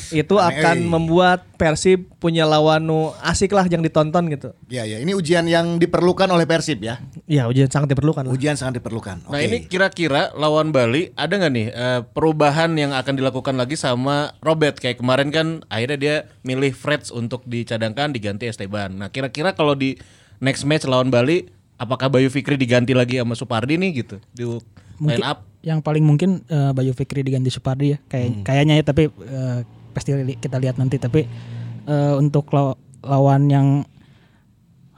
Speaker 4: Itu akan membuat Persib punya lawan nu asik lah yang ditonton gitu.
Speaker 3: Ya, ya. Ini ujian yang diperlukan oleh Persib ya.
Speaker 4: Ya ujian sangat diperlukan lah.
Speaker 3: Ujian sangat diperlukan. Oke.
Speaker 2: Nah ini kira-kira lawan Bali ada nggak nih eh, perubahan yang akan dilakukan lagi sama Robert kayak kemarin kan akhirnya dia milih Freds untuk dicadangkan diganti Esteban. Nah kira-kira kalau di next match lawan Bali apakah Bayu Fikri diganti lagi sama Supardi nih gitu di line up?
Speaker 5: yang paling mungkin eh, Bayu Fikri diganti Supardi ya. Kayak kayaknya ya tapi eh, pasti li- kita lihat nanti tapi eh, untuk law- lawan yang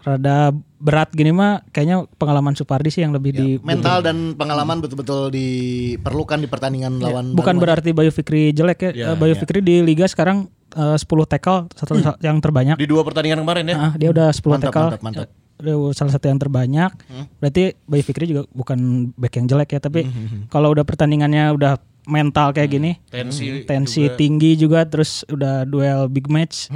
Speaker 5: rada berat gini mah kayaknya pengalaman Supardi sih yang lebih di
Speaker 3: mental dan pengalaman betul-betul diperlukan di pertandingan
Speaker 4: Iya,
Speaker 3: lawan
Speaker 5: Hmm.
Speaker 3: Bandung.
Speaker 5: bukan berarti Bayu Fikri jelek ya. Eh, Bayu Fikri di liga sekarang eh, 10 tackle satu yang terbanyak.
Speaker 2: Di dua pertandingan kemarin ya.
Speaker 5: Ah, dia udah 10
Speaker 3: Mantap,
Speaker 5: tackle.
Speaker 3: mantap, mantap.
Speaker 5: salah satu yang terbanyak. Berarti Bayi Fikri juga bukan back yang jelek ya, tapi kalau udah pertandingannya udah mental kayak gini,
Speaker 2: Tensi
Speaker 5: tensi tinggi juga, terus udah duel big match,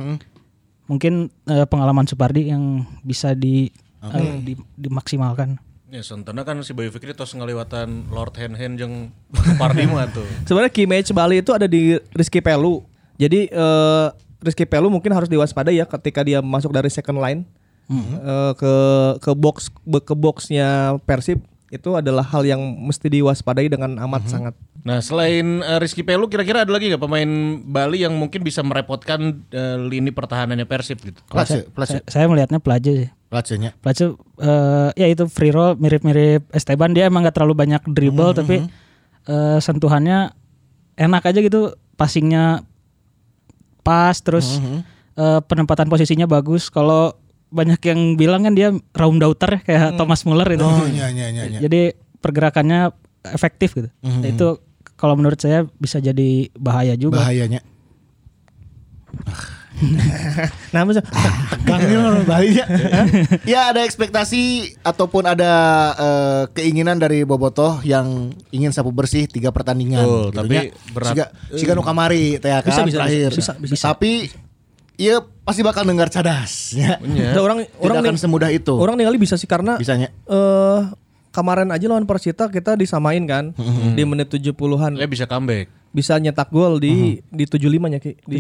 Speaker 5: mungkin eh, pengalaman Supardi yang bisa di, eh, di- dimaksimalkan.
Speaker 2: Ya, sentena kan si Bayu Fikri tos ngelewatan Lord Hand Hand jeung Pardi mah tuh.
Speaker 4: Sebenarnya key match Bali itu ada di Rizky Pelu. Jadi eh, Rizky Pelu mungkin harus diwaspadai ya ketika dia masuk dari second line eh, ke ke box be- ke boxnya Persib itu adalah hal yang mesti diwaspadai dengan amat sangat.
Speaker 2: Nah, selain eh, Rizky Pelu kira-kira ada lagi nggak pemain Bali yang mungkin bisa merepotkan eh, lini pertahanannya Persib gitu?
Speaker 3: Place, place,
Speaker 5: Saya, saya melihatnya pelajar sih.
Speaker 3: placenya.
Speaker 5: Placu eh, ya itu free roll mirip-mirip Esteban dia emang gak terlalu banyak
Speaker 3: Mm-hmm,
Speaker 5: dribble tapi eh, sentuhannya enak aja gitu passingnya pas terus
Speaker 3: Mm-hmm.
Speaker 5: eh, penempatan posisinya bagus kalau banyak yang bilang kan dia round doubter ya, kayak Thomas Muller itu
Speaker 3: Oh, iya, iya, iya, Mm-hmm. iya.
Speaker 5: jadi pergerakannya efektif gitu Nah, itu kalau menurut saya bisa jadi bahaya juga
Speaker 3: Bahayanya.
Speaker 4: Nah, maksud-
Speaker 3: ya ada ekspektasi ataupun ada eh, keinginan dari Bobotoh yang ingin sapu bersih tiga pertandingan.
Speaker 2: Betul,
Speaker 3: gitu
Speaker 2: tapi
Speaker 3: nya.
Speaker 2: berat. Eh.
Speaker 3: Siga, siga nu kamari teh ya
Speaker 4: Bisa,
Speaker 3: kan,
Speaker 4: bisa,
Speaker 3: terakhir.
Speaker 4: bisa, bisa, bisa.
Speaker 3: Tapi iya pasti bakal dengar cadas. Ya.
Speaker 4: Nah, orang
Speaker 3: Tidak
Speaker 4: orang
Speaker 3: akan
Speaker 4: nih-
Speaker 3: semudah itu.
Speaker 4: Orang ningali bisa sih karena
Speaker 3: Bisanya.
Speaker 4: eh, kemarin aja lawan Persita kita disamain kan
Speaker 3: Mm-hmm.
Speaker 4: di menit 70-an
Speaker 2: Dia bisa comeback.
Speaker 4: bisa nyetak gol di
Speaker 3: Mm-hmm.
Speaker 4: di 75 nya Ki. Di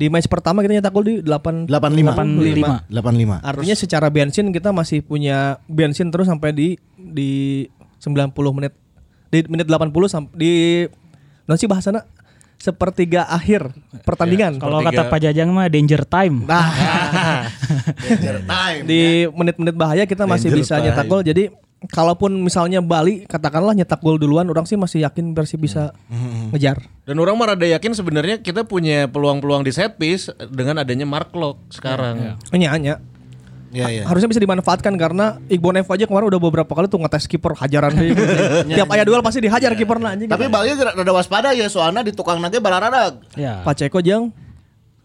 Speaker 4: 77. Di match pertama kita nyetak gol di 8
Speaker 3: 85.
Speaker 5: 85.
Speaker 3: 85.
Speaker 4: Artinya secara bensin kita masih punya bensin terus sampai di di 90 menit di menit 80 sampai di non sih bahasana sepertiga akhir pertandingan
Speaker 5: kalau kata
Speaker 2: Sepertiga-
Speaker 5: Pak Jajang mah danger time
Speaker 3: Iya, Nah, danger time. ya.
Speaker 4: di menit-menit bahaya kita masih
Speaker 2: Danger
Speaker 4: bisa
Speaker 2: time.
Speaker 4: nyetak gol. Jadi kalaupun misalnya Bali katakanlah nyetak gol duluan, orang sih masih yakin Persib bisa
Speaker 3: Hmm.
Speaker 4: ngejar.
Speaker 2: Dan orang mah rada yakin sebenarnya kita punya peluang-peluang di set piece dengan adanya Mark Lok sekarang.
Speaker 4: Hanya hanya
Speaker 3: Ya, ya.
Speaker 4: harusnya bisa dimanfaatkan karena Iqbal Nevo aja kemarin udah beberapa kali tuh ngetes kiper hajaran sih. Tiap ayat duel pasti dihajar kiper nah anjing.
Speaker 3: Ya, Tapi Bali rada waspada ya soalnya di tukang nage bararada.
Speaker 5: ya
Speaker 4: Paceko jeng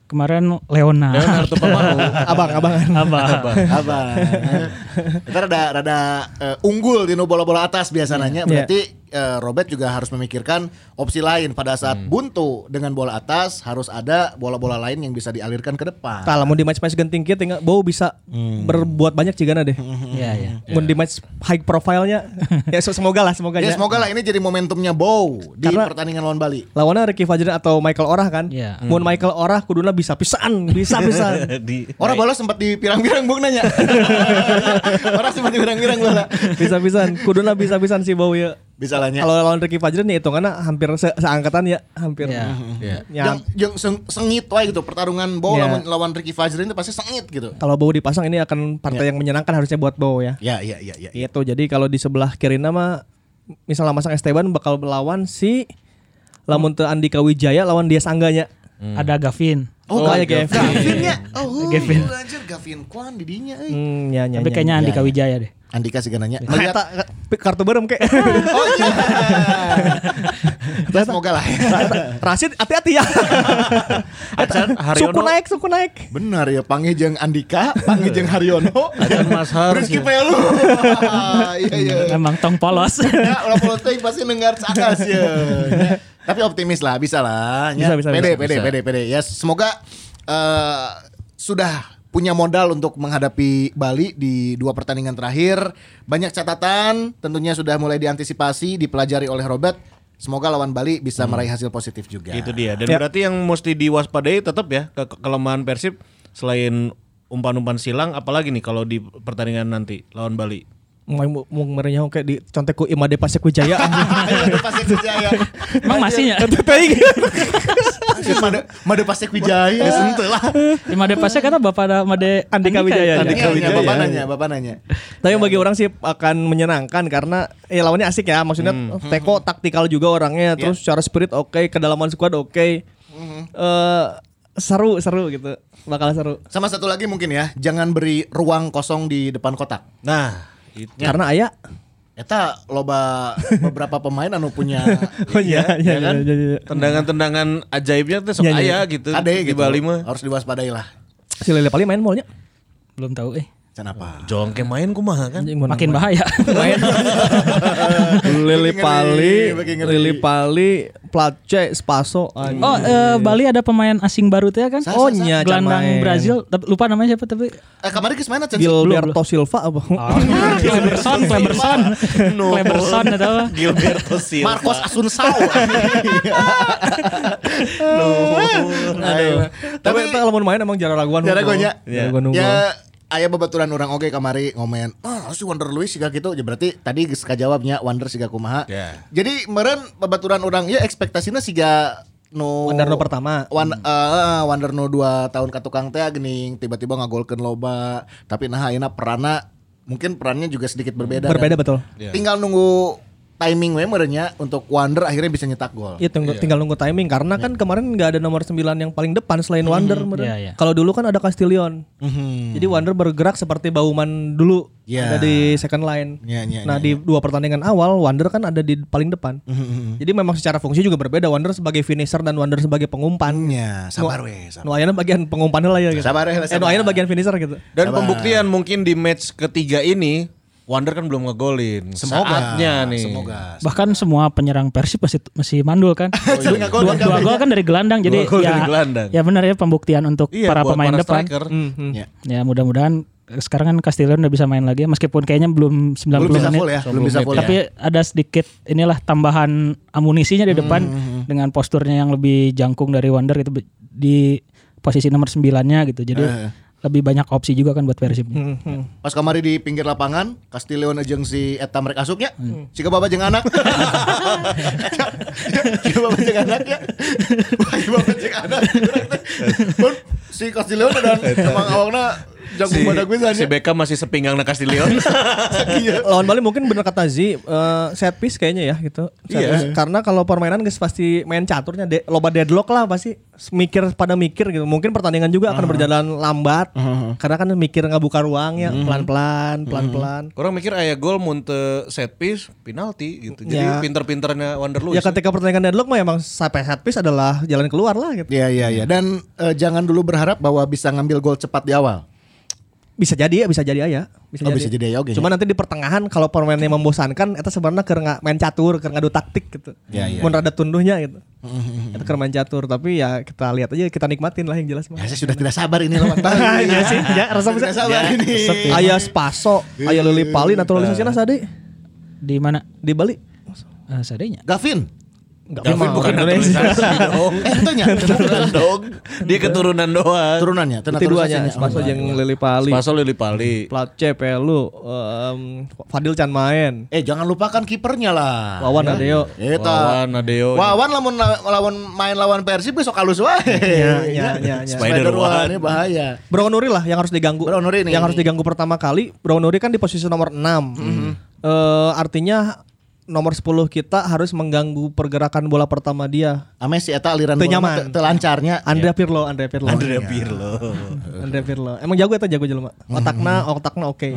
Speaker 5: kemarin Leona
Speaker 2: Leonardo Pamahu.
Speaker 4: abang-abangan.
Speaker 5: apa
Speaker 3: Apa? Kita rada rada eh, unggul di nu bola-bola atas biasanya. Berarti eh, Robert juga harus memikirkan opsi lain pada saat buntu dengan bola atas harus ada bola-bola lain yang bisa dialirkan ke depan.
Speaker 4: Kalau mau di match-match genting kita tinggal bau bisa
Speaker 3: Hmm.
Speaker 4: berbuat banyak cigana deh.
Speaker 5: Iya ya.
Speaker 4: Mau di match high profile-nya ya so- semoga lah semoga
Speaker 3: Ya
Speaker 4: ya.
Speaker 3: semoga lah ini jadi momentumnya Bow di
Speaker 4: Karena-
Speaker 3: pertandingan lawan Bali.
Speaker 4: Lawannya Ricky Fajrin atau Michael Orah kan?
Speaker 5: Iya.
Speaker 4: Mau Michael Orah kuduna bisa pisan, bisa pisan.
Speaker 2: Di
Speaker 3: Orang bola sempat dipirang-pirang Bung nanya. Orang sempat dipirang-pirang bola.
Speaker 4: bisa-bisan kuduna bisa-bisan sih bau ya
Speaker 3: Bisa lah nya.
Speaker 4: kalau lawan Ricky Fajrin ya hitungannya hampir se- seangkatan ya
Speaker 3: Mm-hmm.
Speaker 4: hampir
Speaker 5: Iya.
Speaker 2: ya.
Speaker 4: Ya,
Speaker 3: Yang, yang seng- sengit wae gitu pertarungan Bow
Speaker 4: Ya.
Speaker 3: lawan, lawan Ricky Fajrin itu pasti sengit gitu.
Speaker 4: kalau Bow dipasang ini akan partai yang menyenangkan harusnya buat Bow ya
Speaker 3: Ya ya ya ya.
Speaker 4: itu jadi kalau di sebelah kiri nama misalnya masang Esteban bakal melawan si lamun teu Andika Wijaya lawan dia sangganya
Speaker 5: Ada Gavin.
Speaker 4: oh, kayak Gavin
Speaker 3: Gavin ya. Oh,
Speaker 5: Gavin.
Speaker 3: anjir Gavin Kwan di dinya euy.
Speaker 4: hmm, Iya. ya, ya,
Speaker 5: Tapi
Speaker 4: ya.
Speaker 5: kayaknya Andika
Speaker 3: iya.
Speaker 5: Wijaya deh.
Speaker 3: Andika sih nanya. Melihat
Speaker 4: Ternyata kartu berem kek
Speaker 3: Oh iya. Ya, Semoga lah.
Speaker 4: Rasid hati-hati ya
Speaker 2: Acan
Speaker 4: Kan Suku
Speaker 2: Haryono
Speaker 4: naik, suku naik
Speaker 3: Benar ya, panggil jeung Andika, panggil jeung Haryono.
Speaker 2: Acan Mas Har.
Speaker 3: Rizky Pelu. Ah, Iya iya.
Speaker 5: Emang tong polos.
Speaker 3: Ya, ulah politik pasti dengar cakas ya. Ya, Tapi optimis lah, bisa lah. Ya,
Speaker 4: Bisa, bisa,
Speaker 3: pede,
Speaker 4: bisa,
Speaker 3: pede,
Speaker 2: bisa.
Speaker 3: pede, pede. Ya, semoga eh, sudah punya modal untuk menghadapi Bali di dua pertandingan terakhir. Banyak catatan, tentunya sudah mulai diantisipasi, dipelajari oleh Robert. Semoga lawan Bali bisa
Speaker 4: Hmm.
Speaker 3: meraih hasil positif juga.
Speaker 2: Itu gitu dia. Dan
Speaker 4: Ya.
Speaker 2: berarti yang mesti diwaspadai tetap ya ke ke- kelemahan Persib selain umpan-umpan silang apalagi nih kalau di pertandingan nanti lawan Bali.
Speaker 4: Mau mau merenyaho kayak di conteku Imade Pasek Wijaya
Speaker 3: Ayo, Pasek Wijaya.
Speaker 4: iya.
Speaker 5: Emang masih ya.
Speaker 3: Ayo, Made, Made Pasek Wijaya, Ya, sentuh lah.
Speaker 5: Imade Pasnya kata kan bapak ada Made
Speaker 4: Andika Wijaya.
Speaker 5: itu.
Speaker 4: Andika
Speaker 3: Iya, iya,
Speaker 4: Wijaya.
Speaker 3: Bapak nanya, bapak nanya.
Speaker 4: Tapi bagi orang sih akan menyenangkan karena ya lawannya asik ya. Maksudnya Teko taktikal juga orangnya, terus secara spirit oke, kedalaman squad oke. Eh, seru seru gitu. Bakal seru.
Speaker 3: Sama satu lagi mungkin ya, jangan beri ruang kosong di depan kotak.
Speaker 2: Nah, itu
Speaker 4: Karena Aya
Speaker 3: Eta loba beberapa pemain anu punya
Speaker 4: Oh iya,
Speaker 2: ya
Speaker 4: iya,
Speaker 2: kan?
Speaker 4: iya, iya, iya.
Speaker 2: Tendangan-tendangan ajaibnya tuh sok
Speaker 4: Iya, iya.
Speaker 2: aya gitu
Speaker 3: ade
Speaker 2: di
Speaker 3: gitu.
Speaker 2: Bali mah.
Speaker 3: Harus diwaspadai lah.
Speaker 4: si Lele Pali main molnya.
Speaker 5: Belum tahu eh.
Speaker 3: Kenapa?
Speaker 2: Jongke main kumaha kan?
Speaker 5: Makin bahaya.
Speaker 4: Lili
Speaker 3: Makin ngeri,
Speaker 4: Pali,
Speaker 3: makin ngeri.
Speaker 4: Lili Pali, Place, Spaso. anjing.
Speaker 5: oh, eh, Bali ada pemain asing baru tuh ya kan?
Speaker 3: Sa-
Speaker 4: Oh, nya can main.
Speaker 5: Gelandang Brazil, tapi lupa namanya siapa tapi
Speaker 2: Oh.
Speaker 3: Eh kemarin ke mana Chan?
Speaker 4: Gilberto Silva apa?
Speaker 5: Ah. Kleberson, Kleberson. Kleberson atau apa?
Speaker 2: Gilberto Silva.
Speaker 3: Marcos Asunsao. Aduh.
Speaker 4: Tapi itu kalau mau main emang jarang
Speaker 2: anu
Speaker 4: Iya. raguan.
Speaker 3: Cara gue ya, nya.
Speaker 2: Iya.
Speaker 4: Jarang gua nunggu.
Speaker 3: Ya aya babaturan orang oge kamari ngomen. Ah, si Wonder Luis siga gitu. Ya berarti tadi geus kajawabnya Wonder siga kumaha.
Speaker 2: Ya.
Speaker 3: Jadi meren babaturan orang ya ekspektasinya siga no
Speaker 4: Wonder no pertama.
Speaker 3: Wan,
Speaker 5: Hmm.
Speaker 3: eh, Wonder no 2 tahun ka tukang teh gening tiba-tiba ngagolkeun loba. Tapi nah ayeuna peranna mungkin perannya juga sedikit berbeda.
Speaker 4: Berbeda
Speaker 3: Dan
Speaker 4: betul.
Speaker 3: Tinggal nunggu timing we merenya untuk Wonder akhirnya bisa nyetak gol.
Speaker 4: Iya tunggu- tinggal nunggu timing
Speaker 3: Iya.
Speaker 4: karena kan kemarin nggak ada nomor 9 yang paling depan selain
Speaker 3: Hmm,
Speaker 4: Wander. kemarin.
Speaker 5: Iya, iya.
Speaker 4: Kalau dulu kan ada Castillion. Jadi Wander bergerak seperti Bauman dulu
Speaker 3: Iya.
Speaker 4: ada di second line.
Speaker 3: Iya, iya,
Speaker 4: nah
Speaker 3: iya, Hmm,
Speaker 4: di dua pertandingan awal Wander kan ada di paling depan. Jadi memang secara fungsi juga berbeda Wander sebagai finisher dan Wander sebagai pengumpan.
Speaker 3: Ya, sabar we, sabar.
Speaker 4: Nu ayana bagian pengumpannya lah ya. gitu.
Speaker 3: Sabar ya,
Speaker 4: Eh,
Speaker 3: sabar.
Speaker 4: nu ayana bagian finisher gitu.
Speaker 2: Dan pembuktian mungkin di match ketiga ini Wander kan belum ngegolin. Saatnya nih.
Speaker 3: Semoga.
Speaker 5: Bahkan semua penyerang Persib masih masih mandul kan.
Speaker 3: Sering ngagol
Speaker 5: dua,
Speaker 3: kan
Speaker 5: dua
Speaker 3: kami.
Speaker 5: gol kan dari gelandang jadi
Speaker 2: gol
Speaker 5: ya
Speaker 2: dari gelandang.
Speaker 5: ya benar ya pembuktian untuk
Speaker 2: Iya,
Speaker 5: para
Speaker 2: buat
Speaker 5: pemain depan.
Speaker 2: striker.
Speaker 4: Hmm.
Speaker 3: Ya.
Speaker 5: Ya mudah-mudahan eh, sekarang kan Castillion udah bisa main lagi meskipun kayaknya belum 90
Speaker 3: Belum bisa
Speaker 5: menit.
Speaker 3: full ya, Hmm, belum bisa full.
Speaker 5: Tapi ada sedikit inilah tambahan amunisinya di depan dengan posturnya yang lebih jangkung dari Wander gitu be- di posisi nomor 9-nya gitu. Jadi
Speaker 3: Eh.
Speaker 5: lebih banyak opsi juga kan buat Persib.
Speaker 3: Hmm. Pas kamari di pinggir lapangan, Castillion jeung si eta merek asuknya.
Speaker 4: Hmm.
Speaker 3: Siga baba jeung anak. Siga baba jeung anak ya. Bagi baba jeung anak. Pun si Castillion dan emang awalnya jago
Speaker 2: Si,
Speaker 3: ya. pada gue
Speaker 2: si Beckham masih sepinggang na Castillion.
Speaker 4: Lawan Bali mungkin bener kata Zi eh, set piece kayaknya ya gitu. Set
Speaker 2: Iya.
Speaker 4: piece. Karena kalau permainan guys pasti main caturnya de- loba deadlock lah pasti mikir pada mikir gitu. Mungkin pertandingan juga akan berjalan lambat karena kan mikir nggak buka ruang ya pelan-pelan pelan-pelan.
Speaker 2: Kurang mikir ayah gol munte set piece, penalti gitu. Jadi
Speaker 4: Ya.
Speaker 2: pinter-pinternya Wander Luis.
Speaker 4: Ya ketika pertandingan deadlock mah emang sampai set piece adalah jalan keluar lah gitu.
Speaker 3: Iya iya iya dan eh, jangan dulu berharap bahwa bisa ngambil gol cepat di awal.
Speaker 4: Bisa jadi ya, bisa jadi aja. Bisa,
Speaker 3: Oh, bisa jadi ya, oke.
Speaker 4: Cuma nanti di pertengahan kalau permainannya membosankan, itu sebenarnya keur nggak main catur, keur ngadu taktik gitu.
Speaker 3: Ya, ya.
Speaker 4: Mun rada tunduhnya gitu. Itu keur main catur, tapi ya kita lihat aja, kita nikmatin lah yang jelas mah.
Speaker 3: Ya saya sudah tidak sabar ini lawan Bali.
Speaker 4: Iya sih, ya, resep ya.
Speaker 3: Tidak sabar ini.
Speaker 4: Aya Spaso, aya Lili Pali, atau Lili Sasina Sadi
Speaker 5: Di mana?
Speaker 4: di Bali.
Speaker 5: Eh, sadenya.
Speaker 3: Gavin.
Speaker 2: Tapi bukan
Speaker 4: kan
Speaker 2: Indonesia. dong.
Speaker 3: Eh itu nya.
Speaker 2: Bukan dong. Dia keturunan doang.
Speaker 3: Turunannya,
Speaker 4: Itu duanya,
Speaker 3: terusasinya.
Speaker 4: Spaso jeung Lili Pali.
Speaker 2: Pasol Lili Pali.
Speaker 4: Place, Pelu, em, Fadil Chan main.
Speaker 3: Eh jangan lupakan kipernya lah.
Speaker 4: Wawan Adeo.
Speaker 3: Eta.
Speaker 2: Wawan Nadeo.
Speaker 3: Wawan lamun lawan main lawan Persib besok halus wae. Iya,
Speaker 4: iya, iya, iya.
Speaker 2: Spider Wawan.
Speaker 3: ini bahaya.
Speaker 4: Brown Nuri lah yang harus diganggu.
Speaker 3: Brown Nuri nih.
Speaker 4: Yang harus diganggu pertama kali. Brown Nuri kan di posisi nomor 6.
Speaker 3: Mm-hmm.
Speaker 4: Eh, artinya nomor 10 kita harus mengganggu pergerakan bola pertama dia.
Speaker 3: Ame si eta aliran
Speaker 4: Teu
Speaker 3: bola
Speaker 4: nyaman.
Speaker 3: mah teu- teu lancarnya.
Speaker 4: Andrea Pirlo, Andrea Pirlo.
Speaker 2: Andrea
Speaker 3: Iya.
Speaker 2: Pirlo.
Speaker 4: Andrea Pirlo. Emang jago eta jago jelema.
Speaker 3: Mm-hmm.
Speaker 4: Otakna, otakna oke.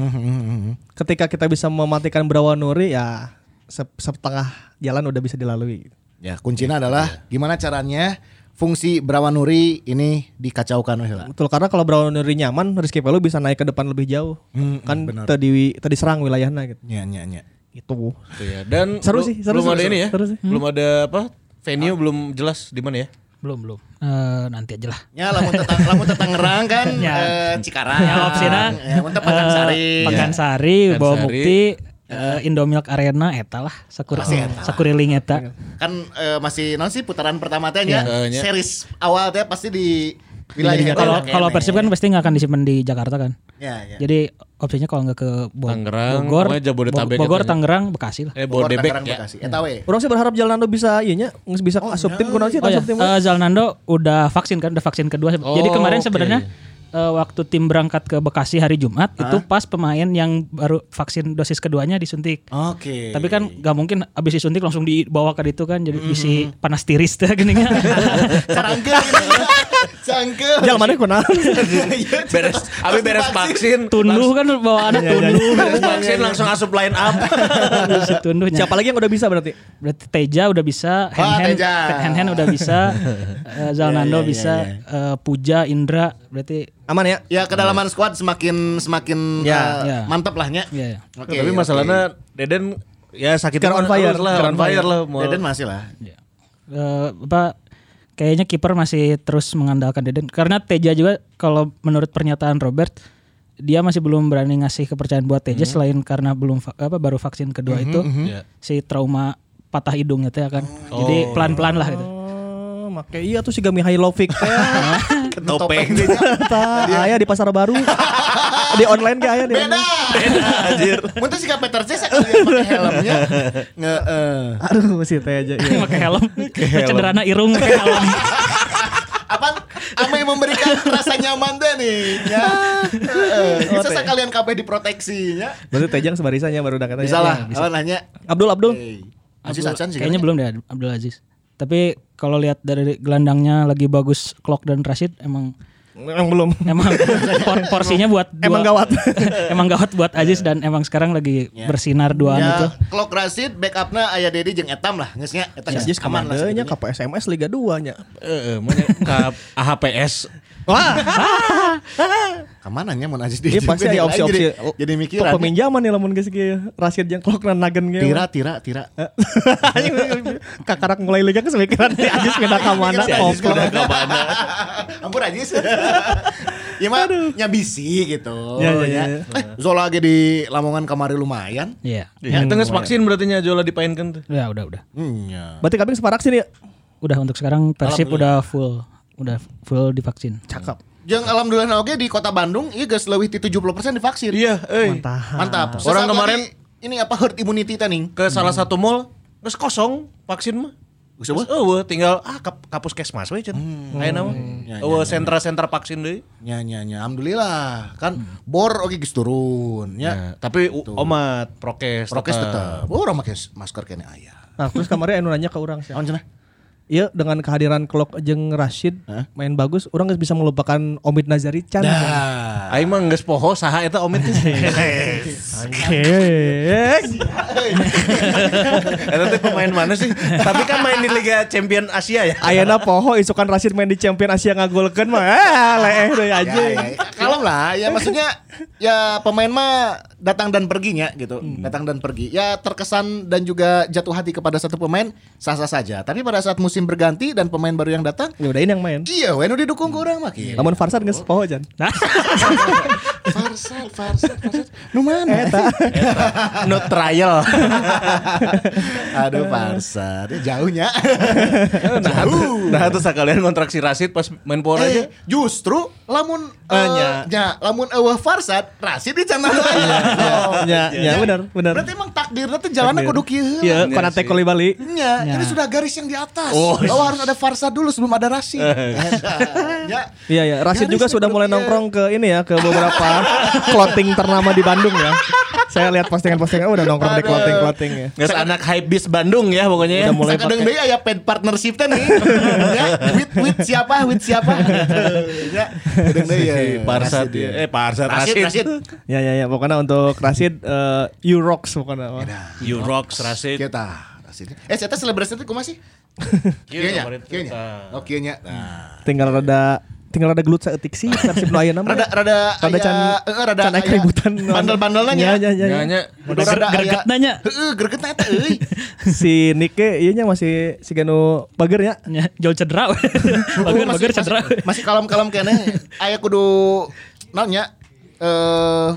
Speaker 4: Ketika kita bisa mematikan Brown Nuri ya se- setengah jalan udah bisa dilalui.
Speaker 3: Ya, kuncinya adalah gimana caranya fungsi Brawanuri ini dikacaukan weh lah.
Speaker 4: Betul karena kalau Brown Nuri nyaman, Rizky Pelu bisa naik ke depan lebih jauh.
Speaker 3: Mm-hmm,
Speaker 4: kan tadi tadi serang wilayahnya gitu.
Speaker 3: Nya nya nya.
Speaker 4: Itu.
Speaker 2: Gitu ya. Dan
Speaker 4: Seru
Speaker 2: bel-
Speaker 4: sih, seru,
Speaker 2: belum
Speaker 4: seru,
Speaker 2: ada
Speaker 4: seru,
Speaker 2: ini ya.
Speaker 4: seru sih. Hmm? Ah.
Speaker 2: Belum ada apa? Venue belum jelas di mana ya?
Speaker 5: Belum, belum. Eh, nanti aja lah.
Speaker 3: Ya, lamun tetang lamun tetang Tangerang kan
Speaker 5: Ya.
Speaker 3: eh, Cikarang.
Speaker 5: Ya, opsina.
Speaker 3: Ya, mun teu Pakansari.
Speaker 5: Eh, Pakansari,
Speaker 2: Pakansari.
Speaker 5: bawa mukti, eh, Indomilk Arena, eta lah, sakur, sakuriling eta.
Speaker 3: Kan eh, masih non sih putaran pertama teh nya.
Speaker 2: Iya, nya.
Speaker 3: Series awal teh pasti di wilayah
Speaker 5: Kalau
Speaker 4: ya
Speaker 5: kalau Persib kan pasti nggak akan disimpan di Jakarta kan.
Speaker 3: Ya,
Speaker 4: Iya.
Speaker 3: ya.
Speaker 5: Jadi opsinya kalau nggak ke Bo-
Speaker 2: Tangerang,
Speaker 5: Bogor,
Speaker 2: pokoknya Jabodetabek
Speaker 5: Bo- Bogor,
Speaker 2: katanya.
Speaker 5: Tangerang, Bekasi
Speaker 4: Iya,
Speaker 5: lah.
Speaker 2: Eh
Speaker 3: Bogor,
Speaker 2: Bodebek
Speaker 3: Tangerang,
Speaker 2: ya.
Speaker 3: Bekasi. Eta we.
Speaker 4: Orang sih berharap Jalnando bisa iya nya, nggak bisa asup tim kunaon sih
Speaker 5: Oh ya,
Speaker 4: asup tim.
Speaker 5: eh, Zalnando udah vaksin kan, udah vaksin kedua. Jadi
Speaker 2: Oh,
Speaker 5: kemarin
Speaker 2: oke.
Speaker 5: sebenarnya eh, waktu tim berangkat ke Bekasi hari Jumat itu pas pemain yang baru vaksin dosis keduanya disuntik.
Speaker 3: Oke.
Speaker 5: Tapi kan nggak mungkin abis disuntik langsung
Speaker 4: Mm-hmm.
Speaker 5: dibawa ke itu kan, jadi isi panas tiris teh gini kan.
Speaker 3: Saranggeung. Cangkel.
Speaker 4: Jalan mana kunaon?
Speaker 2: beres abi beres vaksin
Speaker 5: Tunduh kan bawaannya
Speaker 4: Iya,
Speaker 5: tunduh.
Speaker 2: langsung- beres vaksin langsung asup line up
Speaker 5: si tunduhnya.
Speaker 4: Siapa lagi yang udah bisa berarti?
Speaker 5: Berarti Teja udah bisa,
Speaker 3: Ah,
Speaker 5: hand hand,
Speaker 3: Teja.
Speaker 5: hand hand udah bisa, eh, Zalnando bisa, eh, Puja, Indra, berarti
Speaker 4: Aman ya?
Speaker 3: Ya kedalaman squad semakin semakin
Speaker 4: Ya,
Speaker 3: eh,
Speaker 5: ya.
Speaker 3: mantap lah nya.
Speaker 5: Iya, iya.
Speaker 3: Oke,
Speaker 2: tapi
Speaker 3: oke.
Speaker 2: masalahnya Deden ya sakit
Speaker 4: Car
Speaker 2: mah
Speaker 4: on fire.
Speaker 2: harus lah
Speaker 4: Car on
Speaker 2: on fire
Speaker 4: fire.
Speaker 2: lah mau
Speaker 3: Deden masih lah.
Speaker 5: eh, apa kayaknya kiper masih terus mengandalkan Deden karena Teja juga kalau menurut pernyataan Robert dia masih belum berani ngasih kepercayaan buat Teja selain karena belum va- apa baru vaksin kedua itu
Speaker 2: Iya.
Speaker 5: si trauma patah hidungnya teh kan. Jadi pelan-pelan lah gitu.
Speaker 4: Oh, make iya tuh si Gami Hailovic
Speaker 3: Iya.
Speaker 4: teh.
Speaker 2: topeng
Speaker 4: Tah, ayah di pasar baru. di online ke ayah di
Speaker 3: Beda.
Speaker 4: online.
Speaker 3: Beda anjir. Muntah si Peter C sekalian pakai helmnya. Nge eh.
Speaker 4: Aduh, si teh aja. iya.
Speaker 5: pakai helm. Cederana irung pakai helm.
Speaker 3: Apaan? Apa yang memberikan rasa nyaman deh nih? Ya. Eh, Bisa sekalian kabeh diproteksinya.
Speaker 4: Berarti Tejang sebarisannya baru udah katanya. Iya,
Speaker 3: Bisa lah. Awal nanya.
Speaker 4: Abdul Abdul.
Speaker 3: Hey, Aziz Hasan sih.
Speaker 5: Kayaknya belum deh Abdul Aziz. Tapi kalau lihat dari gelandangnya lagi bagus Clock dan Rashid emang
Speaker 4: Yang belum.
Speaker 5: emang por- porsinya buat
Speaker 4: Emang gawat.
Speaker 5: emang gawat buat Aziz dan emang sekarang lagi bersinar duaan itu.
Speaker 3: Ya, Klok Rashid backupnya Ayah Dedi jeung Etam lah, ngeusnya
Speaker 4: Ya,
Speaker 3: Eta geus
Speaker 4: Jis
Speaker 3: aman lah.
Speaker 4: komandanya ke SMS Liga 2 nya.
Speaker 2: eh eh, mana ka AHPS
Speaker 3: Kemana nya mun Aziz di?
Speaker 4: Iya pasti
Speaker 3: jadi
Speaker 4: ada opsi-opsi.
Speaker 3: jadi- Jadi mikiran.
Speaker 4: Peminjaman ya lamun geus kieu. Rashid jeung Klok dan Nagen ge.
Speaker 3: Tira, tira, tira.
Speaker 4: Kakarak mulai liga kesepikiran si Ajis pindah ke mana?
Speaker 3: Si
Speaker 2: Ajis
Speaker 4: Koplo.
Speaker 2: pindah ke mana?
Speaker 3: Ampun Aziz. Ya mah nyabisi gitu.
Speaker 4: Ya, ya, ya.
Speaker 3: Eh, Zola lagi di Lamongan kemarin lumayan.
Speaker 5: Iya.
Speaker 2: ya tengah vaksin berarti nya Jola dipainkan tuh
Speaker 5: Ya udah udah.
Speaker 3: Hmm, ya.
Speaker 4: Berarti kambing separak sini ya.
Speaker 5: Udah untuk sekarang Persib udah full udah full divaksin.
Speaker 4: Cakep.
Speaker 3: Jeung alhamdulillah oge di Kota Bandung ieu geus leuwih ti 70% divaksin.
Speaker 2: iya eh
Speaker 4: Mantap.
Speaker 3: Mantap.
Speaker 2: Orang
Speaker 3: Sesaat
Speaker 2: kemarin-
Speaker 3: lagi, ini apa herd immunity taning?
Speaker 2: ke salah satu mall terus kosong vaksin mah
Speaker 3: Geus apa?
Speaker 2: Eueuh, tinggal ah kap, kapus kesmas we cen. Ayeuna mah.
Speaker 3: Ya, ya,
Speaker 2: Eueuh, sentra-sentra vaksin deui.
Speaker 3: Ya, ya, ya. Alhamdulillah kan bor oge geus turun ya.
Speaker 2: Tapi u- omat prokes.
Speaker 3: Prokes
Speaker 2: tetep.
Speaker 3: tetep. Oh, Orang make masker kene aya.
Speaker 4: Nah, terus kemarin anu nanya ke orang sih.
Speaker 3: Awan cenah.
Speaker 4: Iya dengan kehadiran Klok jeung Rashid
Speaker 3: Hah?
Speaker 4: main bagus, orang nggak bisa melupakan Omid Nazari Chan.
Speaker 3: Dah.
Speaker 2: Aing mah geus poho saha eta omit.
Speaker 4: Oke.
Speaker 2: Eta teh pemain mana sih? Tapi kan main di Liga Champion Asia ya.
Speaker 4: Ayana poho isukan Rashid main di Champion Asia ngagolkeun mah eh leeh deui aja.
Speaker 3: Ya, ya, ya. Kalem lah, ya maksudnya ya pemain mah datang dan perginya gitu, datang dan pergi. Ya terkesan dan juga jatuh hati kepada satu pemain sah-sah saja. Tapi pada saat musim berganti dan pemain baru yang datang,
Speaker 4: Ya udahin yang main.
Speaker 3: iya, Wenu didukung ke orang mah. gitu. kieu.
Speaker 4: Namun Farsad geus poho Jan.
Speaker 3: Farsal, farsal, farsal. Nu mana?
Speaker 2: No trial.
Speaker 3: Aduh, farsal, dia jauhnya.
Speaker 2: Nah, tuh- nah terus kalian kontrak si Rasid pas main poho
Speaker 3: uh. Eh,
Speaker 2: aja.
Speaker 3: justru lamun eh,
Speaker 2: Nya.
Speaker 3: nya, lamun eueuh farsad, Rasid di cenah
Speaker 4: Ya, ya benar, benar.
Speaker 3: iya. Berarti emang takdirnya tuh jalannya kudu kieu. heula.
Speaker 4: Iya,
Speaker 2: Iya
Speaker 4: Konate
Speaker 2: sih.
Speaker 4: Koli Bali.
Speaker 3: Ya,
Speaker 5: Ya.
Speaker 3: ini sudah garis yang di atas.
Speaker 2: Oh.
Speaker 3: Oh,
Speaker 4: iya.
Speaker 3: harus ada farsa dulu sebelum ada rasi. ya.
Speaker 4: Eh. Iya ya, Rashid
Speaker 3: Garis iya.
Speaker 4: juga sudah mulai
Speaker 3: sebelumnya.
Speaker 4: nongkrong ke ini ya, ke beberapa clothing ternama di Bandung ya. Saya lihat postingan-postingan oh, udah nongkrong di
Speaker 3: Aduh.
Speaker 4: clothing-clothing ya.
Speaker 2: Geus anak hype bis Bandung ya pokoknya ya.
Speaker 4: Udah mulai
Speaker 3: Sekadang
Speaker 4: pakai.
Speaker 3: deh ya paid partnership teh nih. ya, with with siapa, with siapa. ya, kadang deui ya.
Speaker 2: Si Parsad
Speaker 3: Rashid,
Speaker 4: iya.
Speaker 2: ya. Eh Parsad
Speaker 3: Rashid,
Speaker 2: Rasid.
Speaker 3: Rashid.
Speaker 4: Ya ya ya, pokoknya untuk Rashid eh, you rocks pokoknya.
Speaker 3: Ya
Speaker 4: Wah.
Speaker 2: You rocks Rasid.
Speaker 3: Kita. Rashid. Eh, saya selebrasi itu kumaha sih? Kieu nya. Kieu nya. Oh, kieu nya. Nah.
Speaker 4: Tinggal rada tinggal rada gelut saeutik sih Persib nu ayeuna. mah.
Speaker 3: Rada rada
Speaker 4: Rada can-
Speaker 3: eh, rada
Speaker 4: can aya keributan.
Speaker 3: Bandel-bandelna nya.
Speaker 4: Ya, ya, ya, ya.
Speaker 2: Nyanya.
Speaker 3: Udah rada aya-
Speaker 5: Gregetna nya.
Speaker 3: Heeh, gregetna eta euy.
Speaker 4: si Nike iya nya masih si Gano Bager ya.
Speaker 5: Ya, jauh cedera. we.
Speaker 3: Masih-
Speaker 5: Bager-bager
Speaker 3: masih-
Speaker 5: cedera. we.
Speaker 3: Masih kalem-kalem kene. Aya kudu naonnya? Eh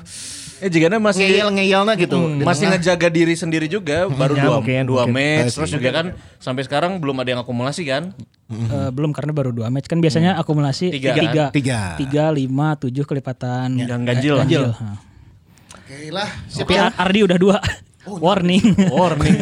Speaker 2: Eh jigana masih Hmm,
Speaker 3: ngeyel-ngeyelna gitu. Di
Speaker 2: masih
Speaker 3: tengah.
Speaker 2: ngejaga diri sendiri juga baru
Speaker 4: Ya,
Speaker 2: dua,
Speaker 4: mungkin,
Speaker 2: dua
Speaker 4: mungkin.
Speaker 2: match terus juga kan sampai sekarang belum ada yang akumulasi kan
Speaker 5: Eh, belum karena baru dua match kan biasanya akumulasi
Speaker 2: Tiga.
Speaker 5: tiga tiga,
Speaker 3: Hmm. Tiga. Ya.
Speaker 5: lima tujuh kelipatan
Speaker 2: Yang ganjil lah.
Speaker 5: Ha.
Speaker 3: Oke lah, siap
Speaker 5: Tapi
Speaker 3: ya.
Speaker 5: Ar- Ardi udah dua warning
Speaker 2: warning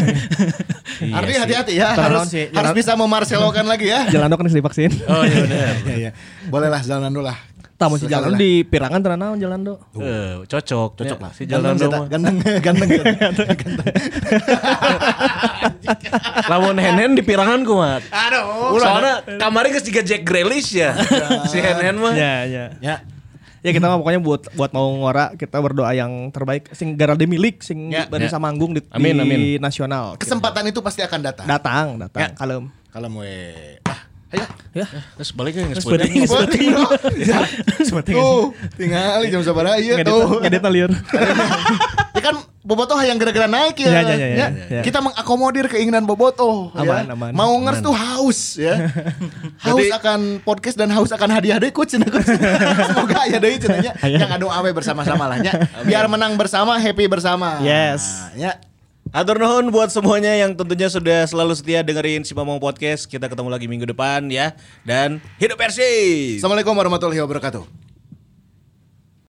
Speaker 3: Ardi hati-hati ya.
Speaker 4: Tenang
Speaker 3: Harus
Speaker 4: sih,
Speaker 3: harus
Speaker 4: jangan-
Speaker 3: bisa memarselokan lagi ya.
Speaker 4: Jalando kan divaksin.
Speaker 2: oh iya benar
Speaker 3: Iya, iya. Boleh lah, jalan dulu lah.
Speaker 4: Tamu si jalan di pirangan tenan naon jalan do.
Speaker 2: Eh, cocok,
Speaker 3: Cocok
Speaker 2: Ya,
Speaker 3: lah.
Speaker 2: Si jalan
Speaker 3: Ganteng,
Speaker 2: dong.
Speaker 3: ganteng, ganteng, ganteng.
Speaker 2: Lamun Hen Hen di pirangan kumat. Aduh. Soalnya kamarnya ke tiga Jack Grealish ya. si Hen Hen mah.
Speaker 4: Ya, ya.
Speaker 3: Ya,
Speaker 4: Ya kita mah pokoknya buat buat mau ngora kita berdoa yang terbaik sing gara demi milik sing
Speaker 3: Ya,
Speaker 2: ya.
Speaker 4: bari samanggung di,
Speaker 2: Amin,
Speaker 4: di
Speaker 2: amin.
Speaker 4: nasional.
Speaker 3: kesempatan itu pasti akan datang.
Speaker 4: datang, datang.
Speaker 3: Ya.
Speaker 4: Kalem.
Speaker 3: Kalau mau ah, ayo.
Speaker 4: Ya.
Speaker 2: Terus baliknya nggak
Speaker 5: Sebenarnya
Speaker 2: sepeda.
Speaker 3: Penting, bro. Ya.
Speaker 4: Seperti
Speaker 3: Tuh, tinggal jam sabaraha ieu
Speaker 4: ngedit
Speaker 3: tuh.
Speaker 4: ngedit na lieur.
Speaker 3: Ya kan bobotoh yang gara-gara naik ya.
Speaker 4: Ya, ya, ya, ya, ya.
Speaker 3: Kita mengakomodir keinginan bobotoh
Speaker 4: Aman,
Speaker 3: ya.
Speaker 4: aman.
Speaker 3: Mau ngers tuh haus ya. haus akan podcast dan haus akan hadiah deui ku cenah. Semoga ya deui cenah nya.
Speaker 4: Iya.
Speaker 3: Yang adu awe bersama-sama lah nya. Biar menang bersama, happy bersama.
Speaker 4: Yes.
Speaker 3: Nah, Ya.
Speaker 2: Atur nuhun buat semuanya yang tentunya sudah selalu setia dengerin si Mamang Podcast. Kita ketemu lagi minggu depan ya. Dan hidup Persib.
Speaker 3: Assalamualaikum warahmatullahi wabarakatuh.